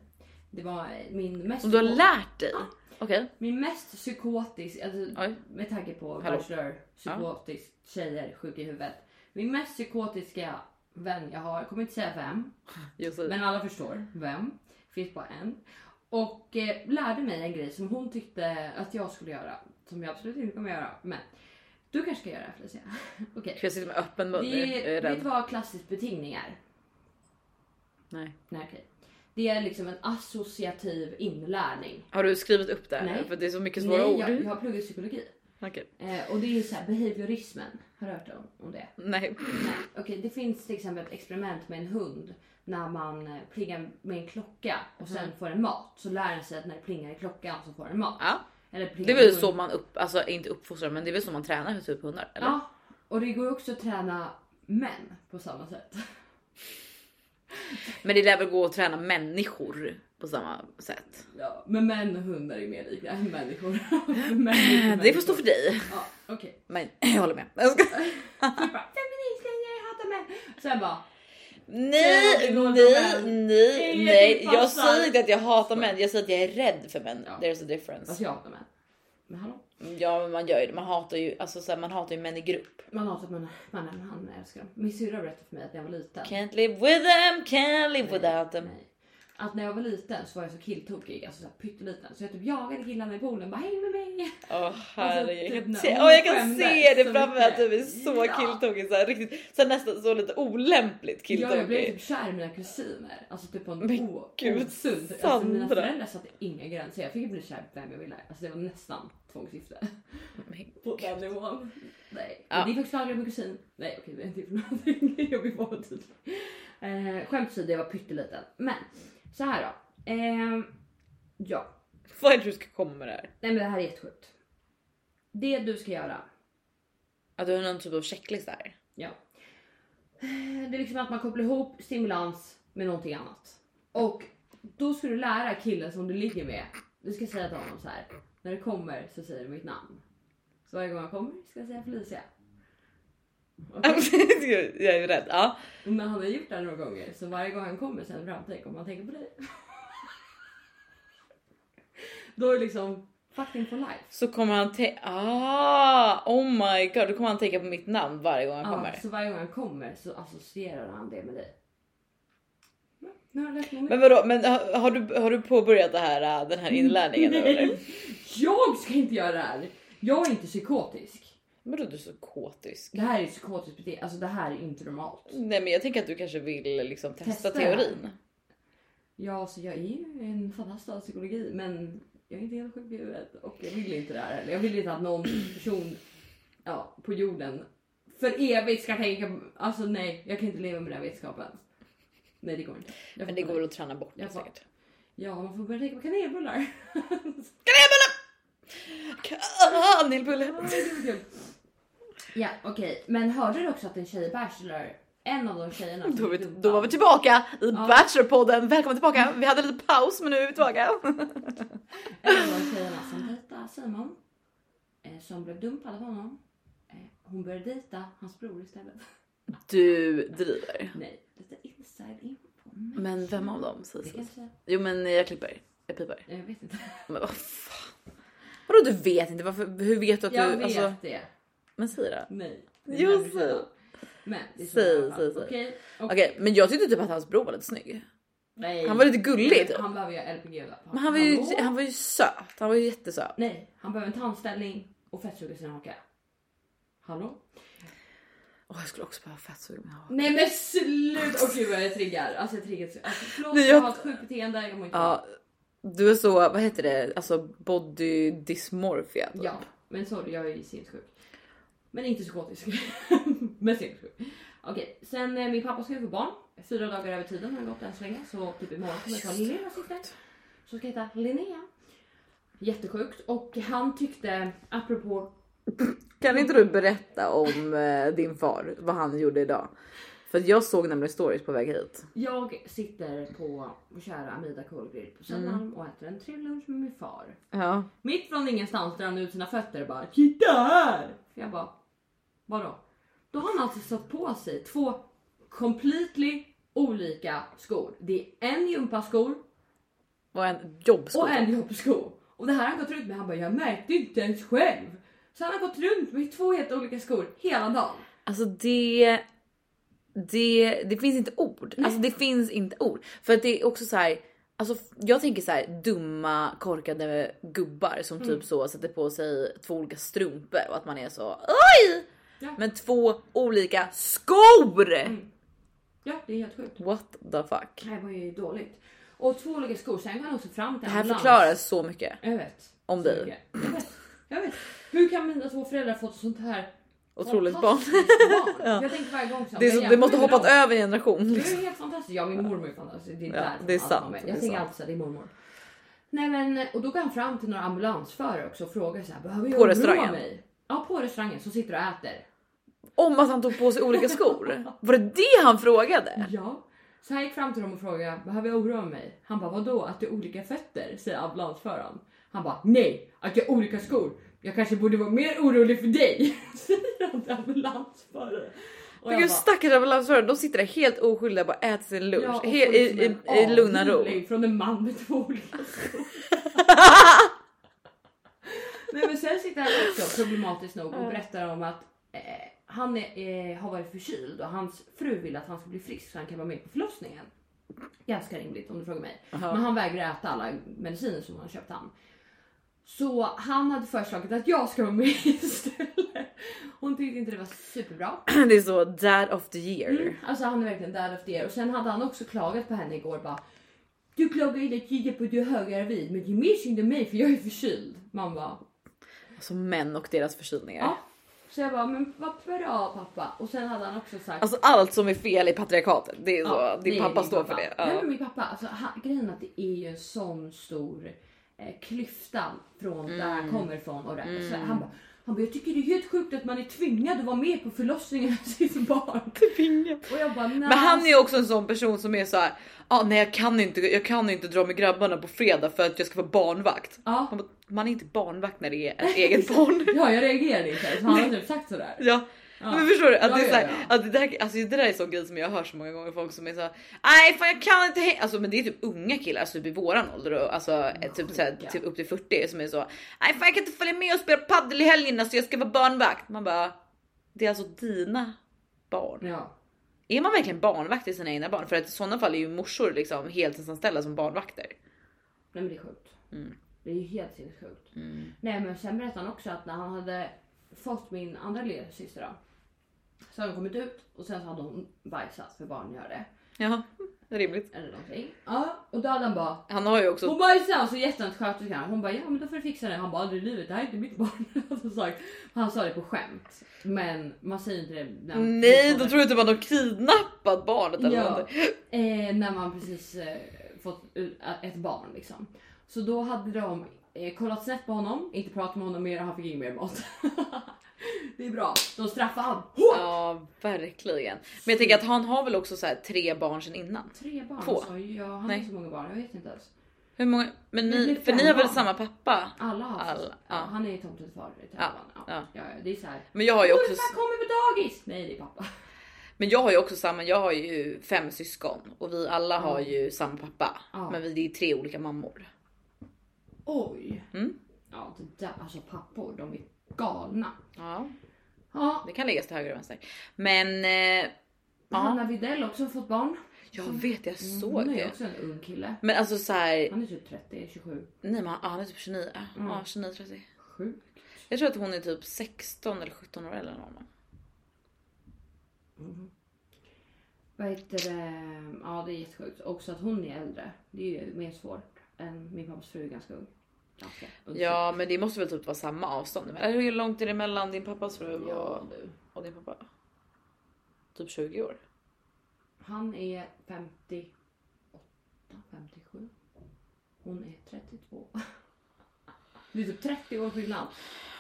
Det var eh, min mest. Mm. Som du har psyko- lärt dig? Okej, Min mest psykotisk, alltså, Oj. med tanke på Hallå. Bachelor, psykotisk, tjejer, sjuk i huvudet. Min mest psykotiska vän jag har, jag kommer inte säga vem, Josefin. Men alla förstår vem. Finns bara en. Och eh, lärde mig en grej som hon tyckte att jag skulle göra. Som jag absolut inte kommer göra. Men du kanske ska göra det Felicia. Okej. Ska jag sitta med öppen mun nu? Jag Det är är, vet du rädd. vad klassisk betingning är? Nej. Nej, okej. Det är liksom en associativ inlärning. Har du skrivit upp det? här? Nej. För det är så mycket svåra Nej, ord. jag, jag har pluggat psykologi. Okej. Eh, och det är ju såhär behaviorismen. Har du hört om, om det? Nej. Nej. Okej, det finns till exempel ett experiment med en hund när man eh, plingar med en klocka och Mm. sen får en mat. Så lär den sig att när det plingar i klockan så får den mat. Ja. Eller plingar Det är i väl hunden. så man upp, alltså inte uppfostrar men det är väl så man tränar hur typ hundar? Eller? Ja, och det går ju också att träna män på samma sätt. Men det lär väl gå att träna människor på samma sätt. Ja, men män och hundar är mer lika än människor. män är inte Det får stå för dig. människor. Ja, okej. Men jag håller med. Jag ska... Typ bara, feministlinjer, jag hatar män. Sen bara, Nej, Det går nej, för män. nej, Det är nej. din Jag farsa. säger inte att jag hatar män, jag säger att jag är rädd för män. Ja. There's a alltså difference. jag hatar män. Men hallå? Ja, men man gör ju det. Man hatar ju, alltså, så här, man hatar ju män i grupp. Man hatar män, mannen, han älskar dem. Min syrra berättade för mig att när jag var liten. Can't live with them, can't live without them. Nej. Att när jag var liten så var jag så killtokig, alltså så här pytteliten. Så jag typ jagade killarna i poolen bara häng med mig. Åh herregud, jag typ kan, när se, hon åh, jag kan skämdes se det så framför mig att mycket. du är så Ja. killtokig. Så här, riktigt, så här, nästan så lite olämpligt Ja, jag blev killtokig. typ kär i mina kusiner. Alltså typ på Men en o- gud, osund. Alltså mina Sandra. föräldrar satte inga gränser. Jag fick ju bli kär i vem jag ville. Alltså det var nästan tvångsgifte. typ, Men På den nivån. Nej. Ja. Det är faktiskt lagrat med kusin. Nej okej det är inte för någonting. Jag vill vara tydlig. Eh, skämt åsido, jag var pytteliten. Men så här då. Ehm, ja. Vad är det du ska komma med det här? Nej men det här är jättesjukt. Det du ska göra. Att du har någon typ av checklist här? Ja. Det är liksom att man kopplar ihop stimulans med någonting annat. Och då ska du lära killen som du ligger med. Du ska säga till honom så här. När det kommer så säger du mitt namn. Så varje gång jag kommer ska jag säga Felicia. Och jag är ju rädd. Ja. Men han har gjort det här några gånger så varje gång han kommer sen fram, tänk om han tänker på dig. Då är det liksom fucking for life. Så kommer han tänka... Ah, oh my god, då kommer han tänka på mitt namn varje gång han Ja, kommer. så varje gång han kommer så associerar han det med dig. Ja, Mm, Nu har jag lärt mig Men mycket. vadå, men har, har du, har du påbörjat det här, äh, den här inlärningen? nu, eller? Nej, Jag ska inte göra det här! Jag är inte psykotisk. Men då är du så kåtisk. Det här är psykotiskt beteende, alltså det här är inte normalt. Nej men jag tänker att du kanske vill liksom testa, Testa. teorin. Ja, så jag är ju en fantast av psykologi men jag är inte helt sjuk i huvudet och jag vill inte det här heller. Jag vill inte att någon person ja, på jorden för evigt ska tänka på- Alltså nej, jag kan inte leva med den här vetskapen. Nej det går inte. Jag Men får det börja- går väl att träna bort det Jag får- säkert. Ja, man får börja tänka på kanelbullar. Ah, Kanelbulle! Ja, det var kul. ja, okej. Men hörde du också att en tjej i Bachelor, en av de tjejerna som Då, är vi- blev dumpad- då var vi typ- tillbaka i Ja. Bachelorpodden. Välkommen tillbaka. Vi hade lite paus men nu är vi tillbaka. En av de tjejerna som dejtade Simon, eh, som blev dumpad av honom, eh, hon började dejta hans bror istället. Du driver. Nej, lite inside info. Men Men vem av dem? sägs det det? kanske... Jo men jag klipper. Jag pipar. Jag vet inte. Men vad fan. Vadå du vet inte? Varför, hur vet du att Jag du... vet alltså- det. men säg då. Nej. Jo, Men- säg. Men det är så Säg, i alla fall. säg, säg. Okej. och- Okej men jag tyckte typ att hans bror var lite snygg. Nej. Han var lite gullig typ. Han behöver ju LPG. va? Men han var ju, Hallå? han var ju söt. Han var ju jättesöt. Nej, han behöver en tandställning och fettsuga sin haka. Hallå? Åh jag skulle också behöva fettsuga min haka. Nej men sluta! Åh gud vad jag triggar. Alltså jag triggar. så- Alltså, förlåt, Nej, jag... jag- har ett sjukt beteende. Jag mår inte bra. Ja, du är så, vad heter det, alltså body dysmorphia. typ. Ja, men sorry jag är ju sinnessjuk. Men inte psykotisk. men sinnessjuk. Okej, sen eh, min pappa ska ju få barn. Fyra dagar över tiden har det gått än så länge. Så typ imorgon kommer jag ta Linneas syster. Som ska heta Linnea. Jättesjukt. Och han tyckte, apropå... Kan inte du berätta om eh, din far, vad han gjorde idag? För att jag såg nämligen stories på väg hit. Jag sitter på vår kära Amida Kolgrill på Södermalm och äter en trevlig lunch med min far. Ja. Mitt från ingenstans drar han ut sina fötter och bara “Titta här!” Jag bara “Vadå?” Då har han alltså satt på sig två completely olika skor. Det är en gympaskor Och en jobbsko. och en jobbsko. Och det här har han gått runt med. Han bara “Jag märkte inte ens själv”. Så han har gått runt med två helt olika skor hela dagen. Alltså det, det, det finns inte ord. Alltså det finns inte ord. För att det är också så här. Alltså jag tänker så här dumma korkade gubbar som typ så sätter på sig två olika strumpor och att man är så oj! Ja. Men två olika skor! Ja, det är helt sjukt. What the fuck? Det här var ju dåligt. Och två olika skor. Sen går han också fram till Det här ambulans. förklarar så mycket Jag vet. om Så dig. mycket. Jag vet. Jag vet. Hur kan mina två föräldrar fått sånt här Otroligt barn. Fantastiskt barn. Jag tänker varje gång så. Det, är så, men det måste ha jämför hoppat med dem. över en generation. Det Liksom. är helt fantastiskt. Ja, min mormor är fantastisk. Det Ja, är, där det är allt sant, kommer. det är Jag tänker sant. alltid så här, det är mormor. Nej, men, och då går han fram till några ambulansförare också och frågar så här, behöver jag På oroa restaurangen? mig? Ja, på restaurangen som sitter och äter. Om att han tog på sig olika skor. Var det det han frågade? Ja. Så han gick fram till dem och frågade, behöver jag oroa mig? Han bara, vadå att det är olika fötter? Säger ambulansföraren. Han bara, nej, att jag har olika skor. Jag kanske borde vara mer orolig för dig. Säger han till ambulansföraren. Och Men jag gud bara, stackars ambulansförare, de sitter där helt oskyldiga och bara äter sin lunch. Ja, och helt, i, folk som i, är I lugn och ro. avhyvling Från en man med två olika skor. Nej men sen sitter han också problematiskt nog och berättar om att eh, han är, eh, har varit förkyld och hans fru vill att han ska bli frisk så han kan vara med på förlossningen. Ganska rimligt om du frågar mig. Aha. Men han vägrar äta alla mediciner som han köpt han. Så han hade föreslagit att jag ska vara med istället. Hon tyckte inte det var superbra. Det är så dad of the year. Mm, alltså han är verkligen där efter er. Och sen hade han också klagat på henne igår bara. Du klagar hela tiden på att du är höggravid men det är mer synd om mig för jag är förkyld. Man bara. Alltså män och deras förkylningar. Ja. Så jag bara men vad bra pappa. Och sen hade han också sagt. Alltså allt som är fel i patriarkatet. Det är så, ja, din det är pappa min står för det. Nej Ja. men min pappa. Alltså han, grejen är att det är ju en Mm. sån stor eh, klyfta från där han kommer ifrån och där. Så han bara. Han bara, jag tycker det är helt sjukt att man är tvingad att vara med på förlossningen av sitt barn. Och jag bara, Men han är ju också en sån person som är så här. Ah, nej, jag kan inte. Jag kan inte dra med grabbarna på fredag för att jag ska vara barnvakt. Ja, Man, bara, man är inte barnvakt när det är ett eget barn. ja jag reagerade inte ens. Han har typ sagt sådär. Ja, Ja. men förstår du? Att Ja, det, är ja, så här, ja. Att det, där, alltså, det där är en sån grej som jag hör så många gånger. Folk som är så här, nej fan jag kan inte hänga. Alltså, men det är typ unga killar alltså, typ i våran ålder och alltså, eh, typ, så här, Sjuka. typ upp till 40 som är så, nej fan jag kan inte följa med och spela padel i helgen så jag ska vara barnvakt. Man bara, det är alltså dina barn. Ja. Är man verkligen barnvakt till sina egna barn? För att i sådana fall är ju morsor liksom heltidsanställda som barnvakter. Nej men det är sjukt. Mm. Det är ju helt sinnessjukt. Mm. Nej men sen berättade han också att när han hade fått min andra lillasyster då. Så hade hon kommit ut och sen så hade hon bajsat för barn gör det. Ja, rimligt. Eller någonting. Ja och då hade han bara Han har ju också hon bajsade och så gett den till sköterskan. Hon bara ja men då får du fixa det. Han bara aldrig i livet det här är inte mitt barn. Alltså, sagt. Han sa det på skämt. Men man säger inte det. När man- Nej, då tror jag typ att de kidnappat barnet eller Ja, någonting. eh, när man precis eh, fått ut- ä- ett barn liksom. Så då hade de eh, kollat snett på honom, inte pratat med honom mer och han fick ingen mer mat. det är bra. De straffar han. Hårt! Ja, verkligen. Men jag tänker att han har väl också så här tre barn sedan innan. Tre barn Två. sa jag. Ja, han Nej. har så många barn, jag vet inte ens. Hur många? Men Det ni, blir för fem ni har väl barn. samma pappa? Alla har Alla, fått- ja. ja. Han är tomtens far i Taiwan. Ja, ja. ja. Ja, det är så här. Men jag har ju också, Morfar kommer på dagis! Nej det är pappa. men jag har ju också samma. Jag har ju fem syskon och vi alla har ju samma pappa, Ja. men vi, det är tre olika mammor. Oj! Mm. Ja det där, alltså pappor de är galna. Ja, Ja, det kan läggas till höger och vänster. Men eh, ja, Hanna Widell också har fått barn. jag vet, jag såg Hon är det. också en ung kille. Men alltså så här, Han är typ 30, 27. nej, men han ja, han är typ 29, Mm. ja, 29 30. Sjukt. Jag tror att hon är typ 16 eller 17 år eller något. Mm. Vad heter det? Ja det är jättesjukt. Också att hon är äldre. Det är ju mer svårt än min pappas fru är ganska ung. Ganska ung. Ja, men det måste väl typ vara samma avstånd? Eller hur långt är det mellan din pappas fru Ja, och, du. och din pappa? Typ 20 år. Han är 58, 57. Hon är 32. Det är typ 30 år skillnad.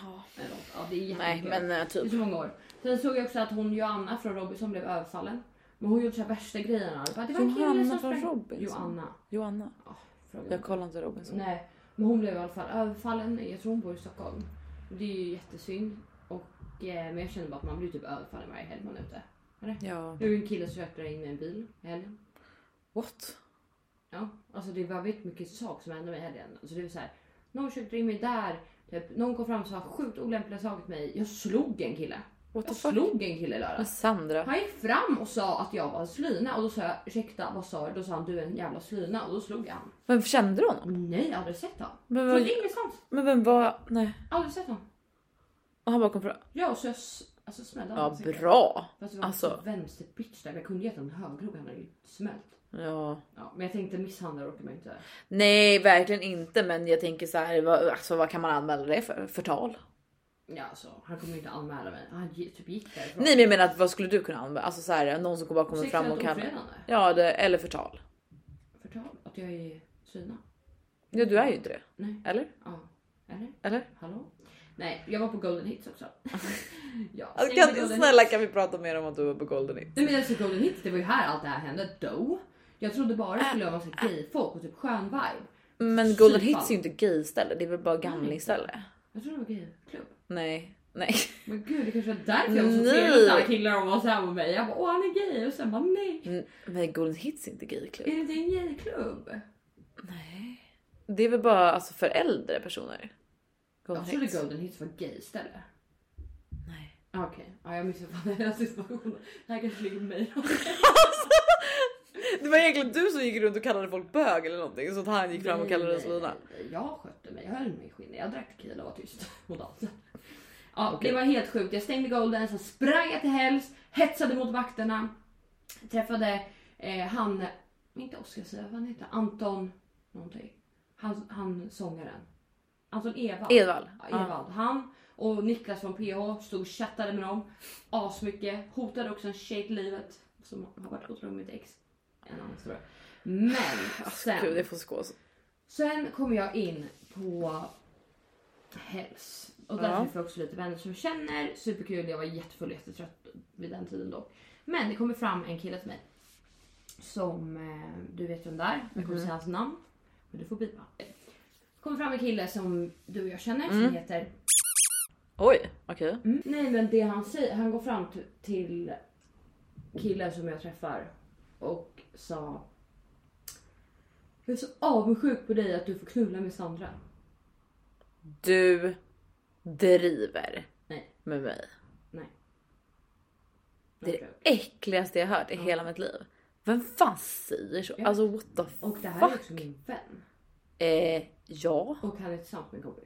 Ja. Eller något. Ja, det är Nej, men jättemycket. eh, Det är typ. så många år. Sen såg jag också att hon Joanna från Robinson blev överfallen. Men hon gjorde så här värsta grejerna. Bara, Det var en kille Johanna från som sprang... Robinson. Joanna. Johanna. Ja, fråga Jag kollar inte Robinson. Alltså, Nej, men hon blev i alla fall överfallen. Jag tror hon bor i Stockholm. Och Det är ju jättesynd. Och, eh, men jag känner bara att man blir typ överfallen varje helg man är ute. Ja. Det var ju en kille som köpte in med en bil i helgen. What? Ja, alltså det var väldigt mycket saker som hände med helgen. Alltså det var så här, någon köpte in mig där. Typ, någon kom fram och sa sjukt olämpliga saker till mig. Jag slog en kille. What the Jag fuck? slog en kille Men i lördags. Sandra. Han gick fram och sa att jag var en slyna och då sa jag ursäkta vad sa du? Då sa han du är en jävla slyna och då slog jag han. Vem kände du honom? Nej, jag har aldrig sett honom. Men, Från vad- ingenstans. men vem var? Nej. Aldrig sett honom. Och han bara kom fram. Ja, och så jag s- alltså, smällde han Ja ansiktet. bra. Fast det var Alltså. alltså. vänsterbitch där. men Jag kunde gett en högerhugg, han hade ju smält. Ja. Ja, men jag tänkte misshandla orkar man inte. Nej verkligen inte men jag tänker så här, vad, alltså, vad kan man anmäla det för? Förtal? Ja, alltså, han kommer ju inte anmäla mig. Han gi- typ gick därifrån. Nej men jag menar att vad skulle du kunna anmäla? Alltså så här, någon som bara kommer fram och kallar. ofredande. Ja det, eller förtal. Förtal. Att jag är syna. Ja du är ju inte det. Nej. Eller? Ja. Eller? Eller? Hallå? Nej, jag var på Golden Hits också. ja, Alltså, stäng kan, med Golden snälla Hits. kan vi prata mer om att du var på Golden Hits? Nej men alltså Golden Hits, det var ju här allt det här hände. Då. Jag trodde bara det skulle vara massa gayfolk och typ skön vibe. Men Golden Syfan. Hits är ju inte gayställe, det är väl bara gamlingställe? Jag trodde det var gayklubb. Nej, nej. Men gud det kanske var därför jag var så Nej. trevlig mot alla killar och var såhär med mig. Jag bara åh han är gay och sen bara nej. Mm, Men Golden Hits är inte Är gayklubb. det inte en gayklubb? Nej. Det är väl bara alltså, för äldre personer? Golden Jag trodde Hits? Alltså, Golden Hits var gayställe. Nej. Ah, Okej, ja, jag missuppfattade hela situationen. Det här kanske ligger på mig. Det var egentligen du som gick runt och kallade folk bög eller någonting så att han gick fram och kallade oss Nej, nej, lina. nej. Jag skötte mig, jag höll mig i skinnet. Jag drack tequila och var tyst och dansade. Ja, Det var helt sjukt. Jag stängde Golden, sen sprang jag till Hells, hetsade mot vakterna. Träffade eh, han, inte Oskar Sia, vad han heter, Anton någonting. Han, han sångaren. Anton Evald. Edvald. Ja, Ja. Evald. Han och Niklas från PH stod och chattade med dem asmycket. Hotade också en tjej till livet som har varit otrogen med ett ex. En annan historia. Men Alltså, Gud sen, det får skås. sen kom jag in på Hells Och där Ja. träffade jag också lite vänner som jag känner. Superkul, jag var jättefull och jättetrött vid den tiden då. Men det kommer fram en kille till mig. Som, eh, du vet vem det är, jag kommer säga hans namn. Men du får bipa. Det kommer fram en kille som du och jag känner som heter... Oj, okej. Mm. Nej men det han säger, han går fram t- till killen som jag träffar och sa... Jag är så avundsjuk på dig att du får knulla med Sandra. Du driver Nej, med mig. nej. Det är det äckligaste jag har hört i hela mitt liv. Vem fan säger så? Alltså what the Och det här är fuck? också min vän. Eh, ja. Och han är tillsammans med en kompis.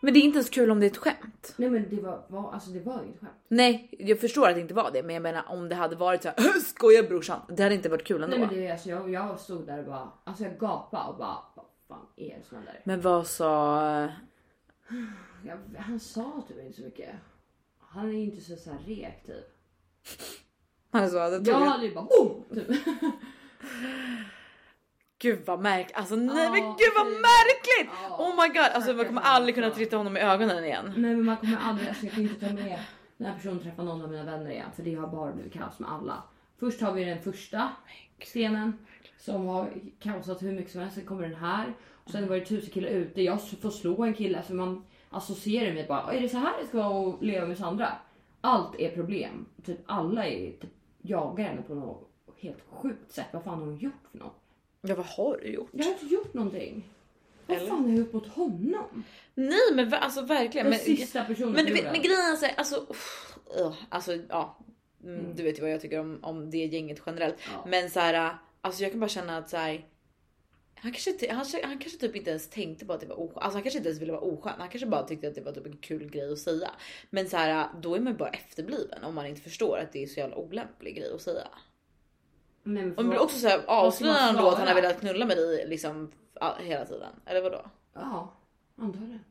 Men det är inte så kul om det är ett skämt. Nej men det var, var, alltså det var inget skämt. Nej, jag förstår att det inte var det, men jag menar om det hade varit så här skoja brorsan. Det hade inte varit kul ändå. Nej men, men det, är- alltså, jag, jag stod där och bara, alltså jag gapade och bara, vad fan är det som händer? vad sa? Jag- Han sa typ inte så mycket. Han är ju inte så, så här rek typ. Han sa det Jag ja. hade ju bara boom! Typ. Gud vad märkligt. Alltså nej Ja, men gud vad fy. märkligt! Ja. Oh my god, alltså man kommer Stackars aldrig kunna människa. titta honom i ögonen igen. Nej men man kommer aldrig, alltså, jag kan inte ta med den här personen träffa någon av mina vänner igen för det har bara blivit kaos med alla. Först har vi den första stenen som har kaosat hur mycket som helst, sen kommer den här. Och sen var det tusen killar ute, jag får slå en kille för man associerar mig bara, är det så här det ska vara att leva med Sandra? Allt är problem, typ alla är, typ, jagar henne på något helt sjukt sätt. Vad fan har hon gjort för något? Ja vad har du gjort? Jag har inte gjort någonting. Vad Eller? fan har jag gjort mot honom? Nej men va- alltså verkligen. Den Men, sista personen men, som men, gjorde men det. grejen är så här, alltså, uff, ugh, alltså ja. Mm, Du vet ju vad jag tycker om, om det gänget generellt. Ja. Men så här, alltså jag kan bara känna att så här. Han kanske, ty- han, han kanske typ inte ens tänkte på att det var oskön. Alltså han kanske inte ens ville vara oskön. Han kanske bara tyckte att det var typ en kul grej att säga. Men så här, då är man ju bara efterbliven om man inte förstår att det är så jävla olämplig grej att säga. Nej, men Och det blir förlåt. också så här ska man avslöjar han då att han har svara? velat knulla med dig liksom all- hela tiden. Eller vadå? Ja, antagligen.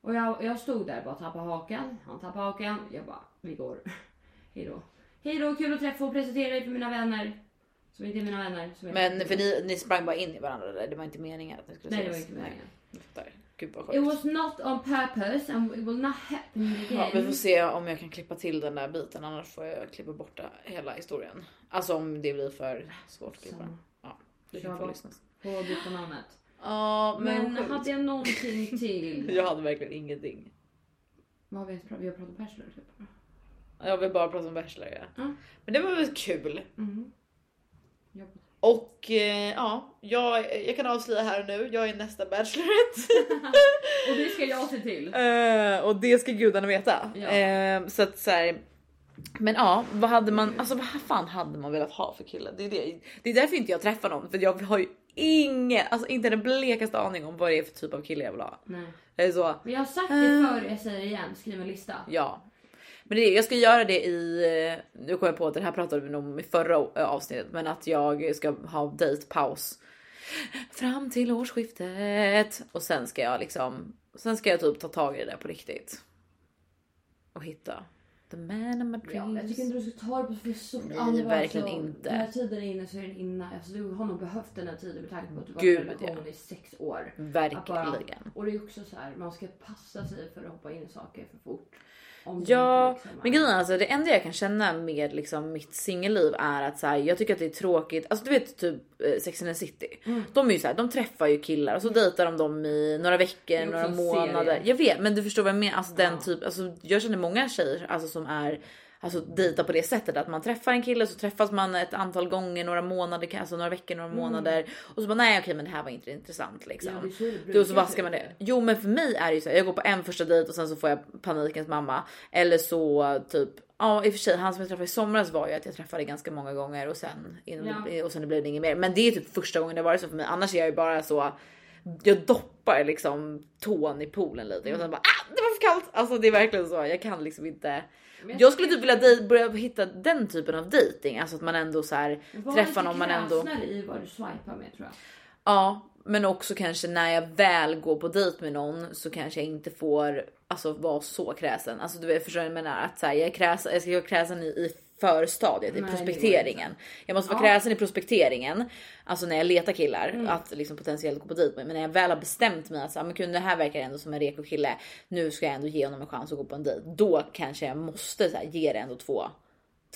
Och jag, jag stod där och bara tappade hakan. Han tappade hakan. Jag bara, vi går. Hej då. Hej då, kul att träffa och presentera dig för mina vänner. Som inte är mina vänner. Som är Men för ni, ni sprang bara in i varandra eller? Det var inte meningen att ni skulle Nej, det var ses. inte meningen. Nej, fattar. Gud vad It sjukt. was not on purpose and it will not happen Ja, vi får again. se om jag kan klippa till den där biten annars får jag klippa bort det- hela historien. Alltså om det blir för svårt att klippa. Samma. Ja, du Kör kan få bara. lyssna. På byta namnet. Ja, men, Men hade jag någonting till? jag hade verkligen ingenting. Vad har vi ens pratat Vi har pratat om Bachelor typ. Jag vill bara prata om Bachelor. Ja. Mm. Men det var väl kul. Mhm. Jag- Och eh, ja, jag, jag kan avslöja här och nu. Jag är nästa Bachelorette. Och det ska jag se till. Eh, och det ska gudarna veta. Ja. Eh, så att så här, men ja, vad hade man, alltså vad fan hade man velat ha för kille? Det är, det. Det är därför inte jag träffar någon för jag har ju ingen, alltså inte den blekaste aning om vad det är för typ av kille jag vill ha. Nej. Jag är så, Men jag har sagt Eh. det förr, jag säger det igen. Skriv en lista. ja. Men det, är- jag ska göra det i, eh, nu kommer jag på att det här pratade vi om i förra o- avsnittet, men att jag ska ha dejtpaus fram till årsskiftet och sen ska jag liksom, sen ska jag typ ta tag i det där på riktigt. Och hitta the man of my Ja, jag dreams. tycker inte du ska ta det på för stort Nej, verkligen inte. När tiden är inne så är den inne. Alltså, du har nog behövt den här tiden med tanke på att du var i Gud, en relation i sex år. Att bara- Verkligen. Och det är också så här, man ska passa sig för att hoppa in i saker för fort. Om det Ja, inte liksom är- men grejen är alltså det enda jag kan känna med liksom mitt singelliv är att så här, jag tycker att det är tråkigt. Alltså du vet typ eh, Sex and the City. Mm. De är ju så här, de träffar ju killar och så dejtar de dem i några är veckor, också några en månader. serie. Jag vet, men du förstår vad jag menar. Alltså den Ja. typ, alltså jag känner många tjejer alltså som är Alltså dejtar på det sättet att man träffar en kille så träffas man ett antal gånger, några månader, alltså några veckor, några månader och så bara nej okej men det här var inte intressant liksom. Mm. Ja, det är så det brukar Du och så vaskar se man ut. det. Jo men för mig är det ju så här, jag går på en första dejt och sen så får jag panikens mamma. Eller så typ, ja i och för sig han som jag träffade i somras var ju att jag träffade ganska många gånger och sen, innan Ja. och sen blev det inget mer. Men det är typ första gången det har varit så för mig. Annars är jag ju bara så, jag doppar liksom tån i poolen lite och sen bara ah, det var för kallt. Alltså det är verkligen så, jag kan liksom inte. Men jag Jag skulle typ vilja dej- börja hitta den typen av dating, alltså att man ändå så här Var träffar lite någon man ändå. kräsnare i vad du swipar med tror jag. Ja, men också kanske när jag väl går på dejt med någon så kanske jag inte får alltså, vara så kräsen. Alltså du vet, förstår du vad jag menar? Att så här, jag, är kräsen, jag ska vara kräsen i, i förstadiet Nej, i det går prospekteringen. Jag måste vara Ja. kräsen i prospekteringen, alltså när jag letar killar Mm. att liksom potentiellt gå på dejt med. Men när jag väl har bestämt mig att så, här, men kunde det här verkar ändå som en reko kille. Nu ska jag ändå ge honom en chans att gå på en dejt. Då kanske jag måste så här, ge det ändå två,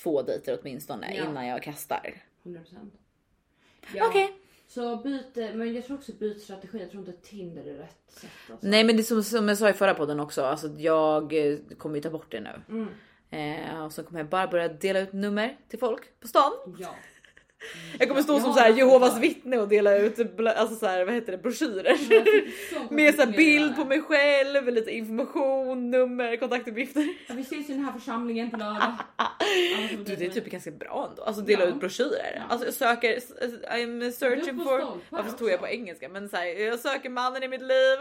två dejter åtminstone Ja. innan jag kastar. 100%. Ja. Okej. Så byt, men jag tror också byt strategi. Jag tror inte Tinder är rätt sätt. Alltså. Nej men det är som, som jag sa i förra podden också, alltså jag eh, kommer ju ta bort det nu. Mm. Eh, och så kommer jag bara börja dela ut nummer till folk på stan. Ja. Jag kommer Ja, stå jag som har så här en Jehovas kommentar. vittne och dela ut bla- alltså så här, vad heter det, broschyrer. Men jag fick så Med så här konfliktmeddelande. bild på mig själv, lite information, nummer, kontaktuppgifter. Ja, Vi ses i den här församlingen på lördag. Alla som Ah, Du det är typ ganska bra ändå. Alltså dela dela ja. ut ut broschyrer. Alltså jag söker, I'm searching for... Varför tog jag på engelska? Men så här, jag söker mannen i mitt liv.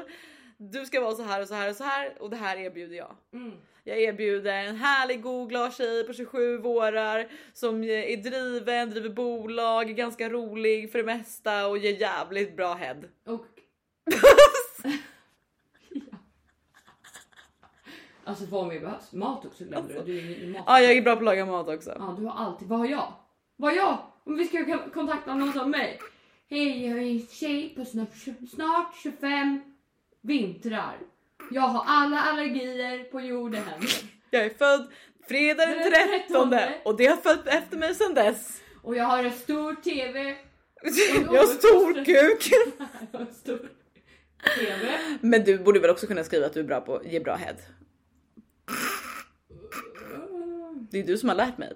Du ska vara så här och så här och så här och det här erbjuder jag. Mm. Jag erbjuder en härlig googlar tjej på 27 vårar som är driven, driver bolag, är ganska rolig för det mesta och ger jävligt bra head. Och... ja. Alltså vad mer behövs? Mat också glömde du. Du är ingen mat. Ja, Alltså. Ah, jag är bra på att laga mat också. Ja, du har alltid. Vad har jag? Vad har jag? Om vi ska k- kontakta någon som mig. Hej, jag är en tjej på snart, snart 25 vintrar. Jag har alla allergier på jorden. Jag är född fredag den Den 13 trettonde. och det har följt efter mig sedan dess. Och jag har en stor TV. Jag har stor kuk. Jag har en stor TV. Men du borde väl också kunna skriva att du är bra på att ge bra head? Det är du som har lärt mig.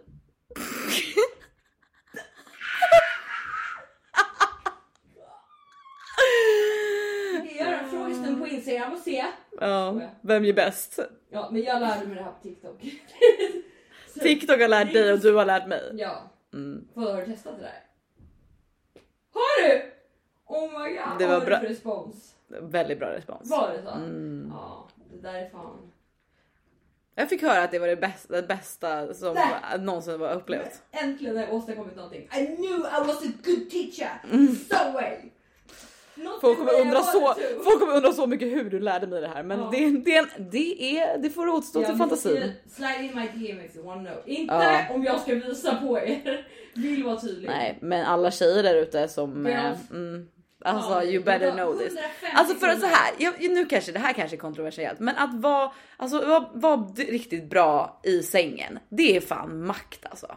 Vi gör en frågestund på Instagram och se. Ja, vem är bäst? Ja, men jag lärde mig det här på TikTok. Så- TikTok har lärt dig och du har lärt mig. Ja, Mm. vad har du testat det där? Har du? Oh my god, Det var vad bra. var det för respons? Väldigt bra respons. Var det så? Mm. Ja, det där är fan. Jag fick höra att det var det bästa, det bästa som Nej. någonsin var upplevt. Äntligen har jag åstadkommit någonting. I knew I was a good teacher. Someway. Not Mm. Folk kommer, the way I undra så, wanted to. folk kommer undra så mycket hur du lärde mig det här men Ja. det, det, är en- det, är, det får återstå till ni fantasin. ser- Slide in my DM if you wanna know. Inte Ja. om jag ska visa på er. Vill vara tydlig. Nej men alla tjejer där ute som... eh, Girls. Mm, alltså Ja, you det better var know this. 150 Alltså för att så här, jag, nu kanske det här kanske är kontroversiellt men att vara alltså, var, riktigt bra i sängen det är fan makt alltså.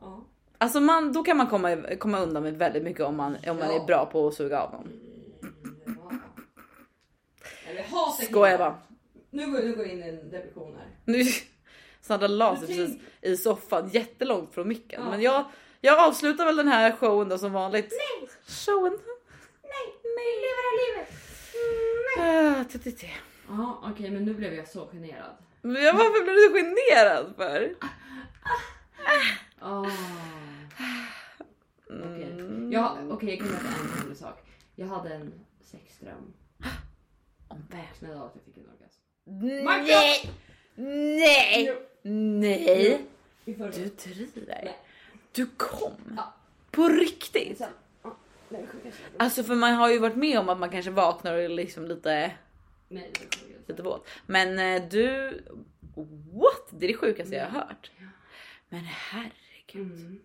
Ja. Alltså man, då kan man komma, komma undan med väldigt mycket om man, om man Ja. är bra på att suga av någon. Eller hata Skojar killar. bara. Nu går, nu går jag in i en depression här. Nu, Sandra la sig Men precis i soffan jättelångt från micken. Ja. Men jag, jag avslutar väl den här showen då som vanligt. Nej. Showen. Nej, nej, lever av livet. Ah, t- t- t. Ja, okej, men nu blev jag så generad. Men jag- Varför blev du så generad för? Ah. Okej, Mm. jag, okay, jag kan berätta en hemlig sak. Jag hade en sexdröm. Om vem? Vaknade av att jag fick en orgasm. Nej! Nej! Nej! I förrgår. Du driver. Nej. Du kom. Ja. På riktigt. Sen- ja, det är det sjukaste jag har gjort. Alltså för man har ju varit med om att man kanske vaknar och är liksom lite, Nej, det är det sjukaste. lite våt. Men eh, du, what? Det är det sjukaste jag har hört. Men herregud. Mm.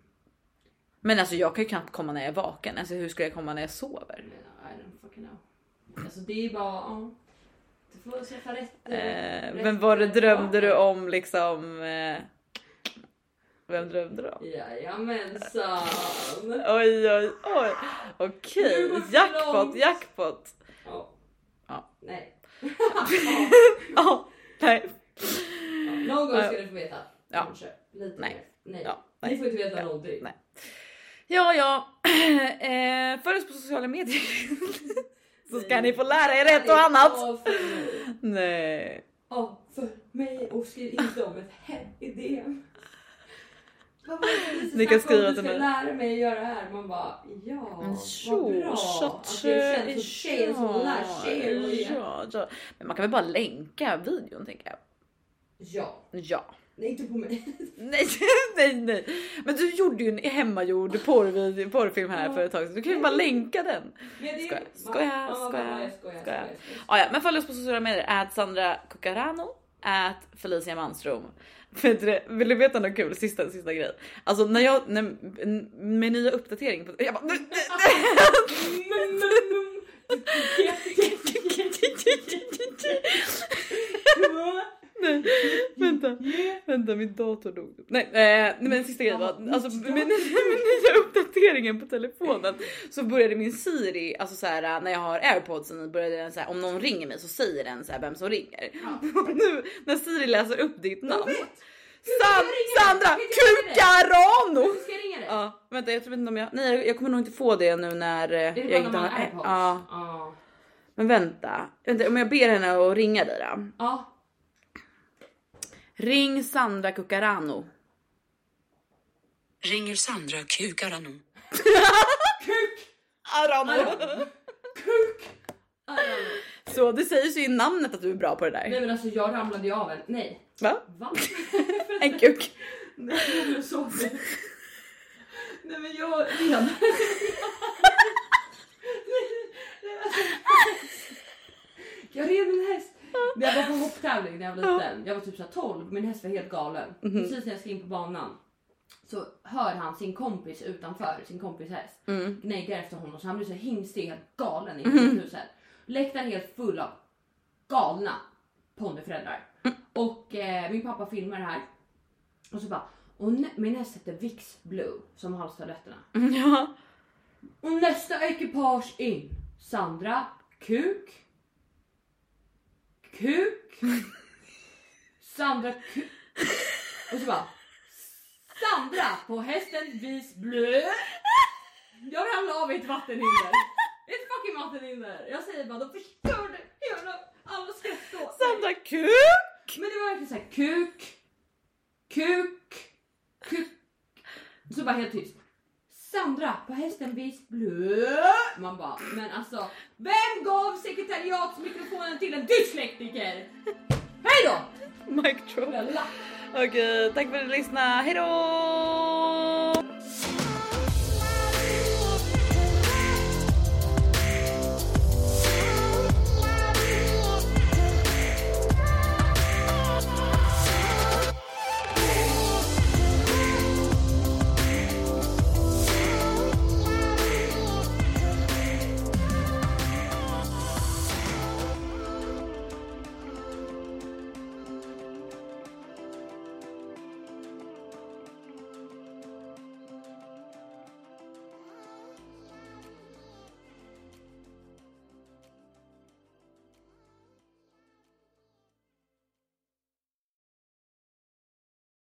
Men alltså jag kan ju knappt komma när jag är vaken. Alltså hur ska jag komma när jag sover? Men, I don't fucking know. Alltså det är bara, ja. Du får träffa rätt. Eh, rätt- men var det drömde du partner. om liksom? Eh, vem drömde du om? Jajamensan. Oj oj oj. Okej, Nu går vi jackpot långt. jackpot. Ja. Ja. Nej. Ja, nej. Någon gång ska du få veta. Ja. Kanske. Lite Nej. mer. Nej. Ja, Ni nej. får inte veta Ja. någonting. Nej. Ja, ja. Eh, Följ oss på sociala medier. Så ska ni få lära er ett och annat. Ja, för mig. Nej. Ja, för mig. Och skriv inte om ett hem i DM. Vad var det Lisa Ni kan snackade skriva om? till Du mig. ska lära mig att göra det här. Man bara ja, Men vad tjo, bra. tja, Att jag känns som tja, tjejen som lär tjejer att ge. eh, ja, ja. Men man kan väl bara länka videon tänker jag. Ja. Ja. Nej, inte på mig. Nej, nej, nej. Men du gjorde ju en hemmagjord porrvideo, porrfilm här för ett tag sedan. Du kan ju bara länka den. Men det är- Skoja, Ma- skoja, mamma, skoja, mamma, jag skojar, skoja. skojar, skojar. Ah, ja, men följ oss på sociala medier. Ad Sandra Cucarano At Felicia Manström. Vet du, eh, vill du veta något kul? Sista, sista grej. Alltså när jag, när, med nya uppdatering på... Jag bara, nu, nej, vänta. Vänta min dator dog. Nej, eh, nej men sista grejen var Ja, alltså mitt med, med nya uppdateringen på telefonen så började min Siri, alltså så här när jag har airpodsen började den så här om någon ringer mig så säger den så här vem som ringer. Ja. Och nu när Siri läser upp ditt namn. jag San, ringer dig. Sandra Vet jag ringer dig. Cucarano! Ska jag ringa dig? Ja, vänta jag tror inte om jag, nej jag kommer nog inte få det nu när eh, Det jag är bara när inte man har har airpods. Ja, Ja. men vänta. vänta. Om jag ber henne att ringa dig då. Ja. Ring Sandra Cucarano. Ringer Sandra Kukarano. Kuk! Arano. Kuk! Ah, ja, ja. Så det sägs ju i namnet att du är bra på det där. Nej men alltså jag ramlade ju av en... Nej. Va? Va? En kuk. Nej men så Nej men jag redan... Jag red en häst. Men jag var på hopptävling när jag var liten. Jag var typ så här 12. Min häst var helt galen. Mhm. Precis när jag ska in på banan så hör han sin kompis utanför, sin kompis häst. Mm. gnäggar efter honom så han blir så hingstig, helt galen i sjukhuset. Läktaren är helt full av galna ponnyföräldrar. Och eh, min pappa filmar det här. Och så bara, och nä- min häst heter Vix Blue som har halstabletterna. Ja. Och nästa ekipage in, Sandra Kuk. Kuk. Sandra Kuk. Och så bara, Sandra på hästen Vis Blue. Jag ramlade av i ett vattenhinder. Ett fucking vattenhinder. Jag säger bara, de förstörde hela, alla skratt då. Sandra kuk. Men det var verkligen såhär kuk, kuk, kuk. Så bara helt tyst. Sandra på hästen vis blö. Man bara, men alltså vem gav sekretariatsmikrofonen till en dyslektiker? Hej då! Mic drop. Lalla. Okej, tack för att du lyssnade. Hejdå!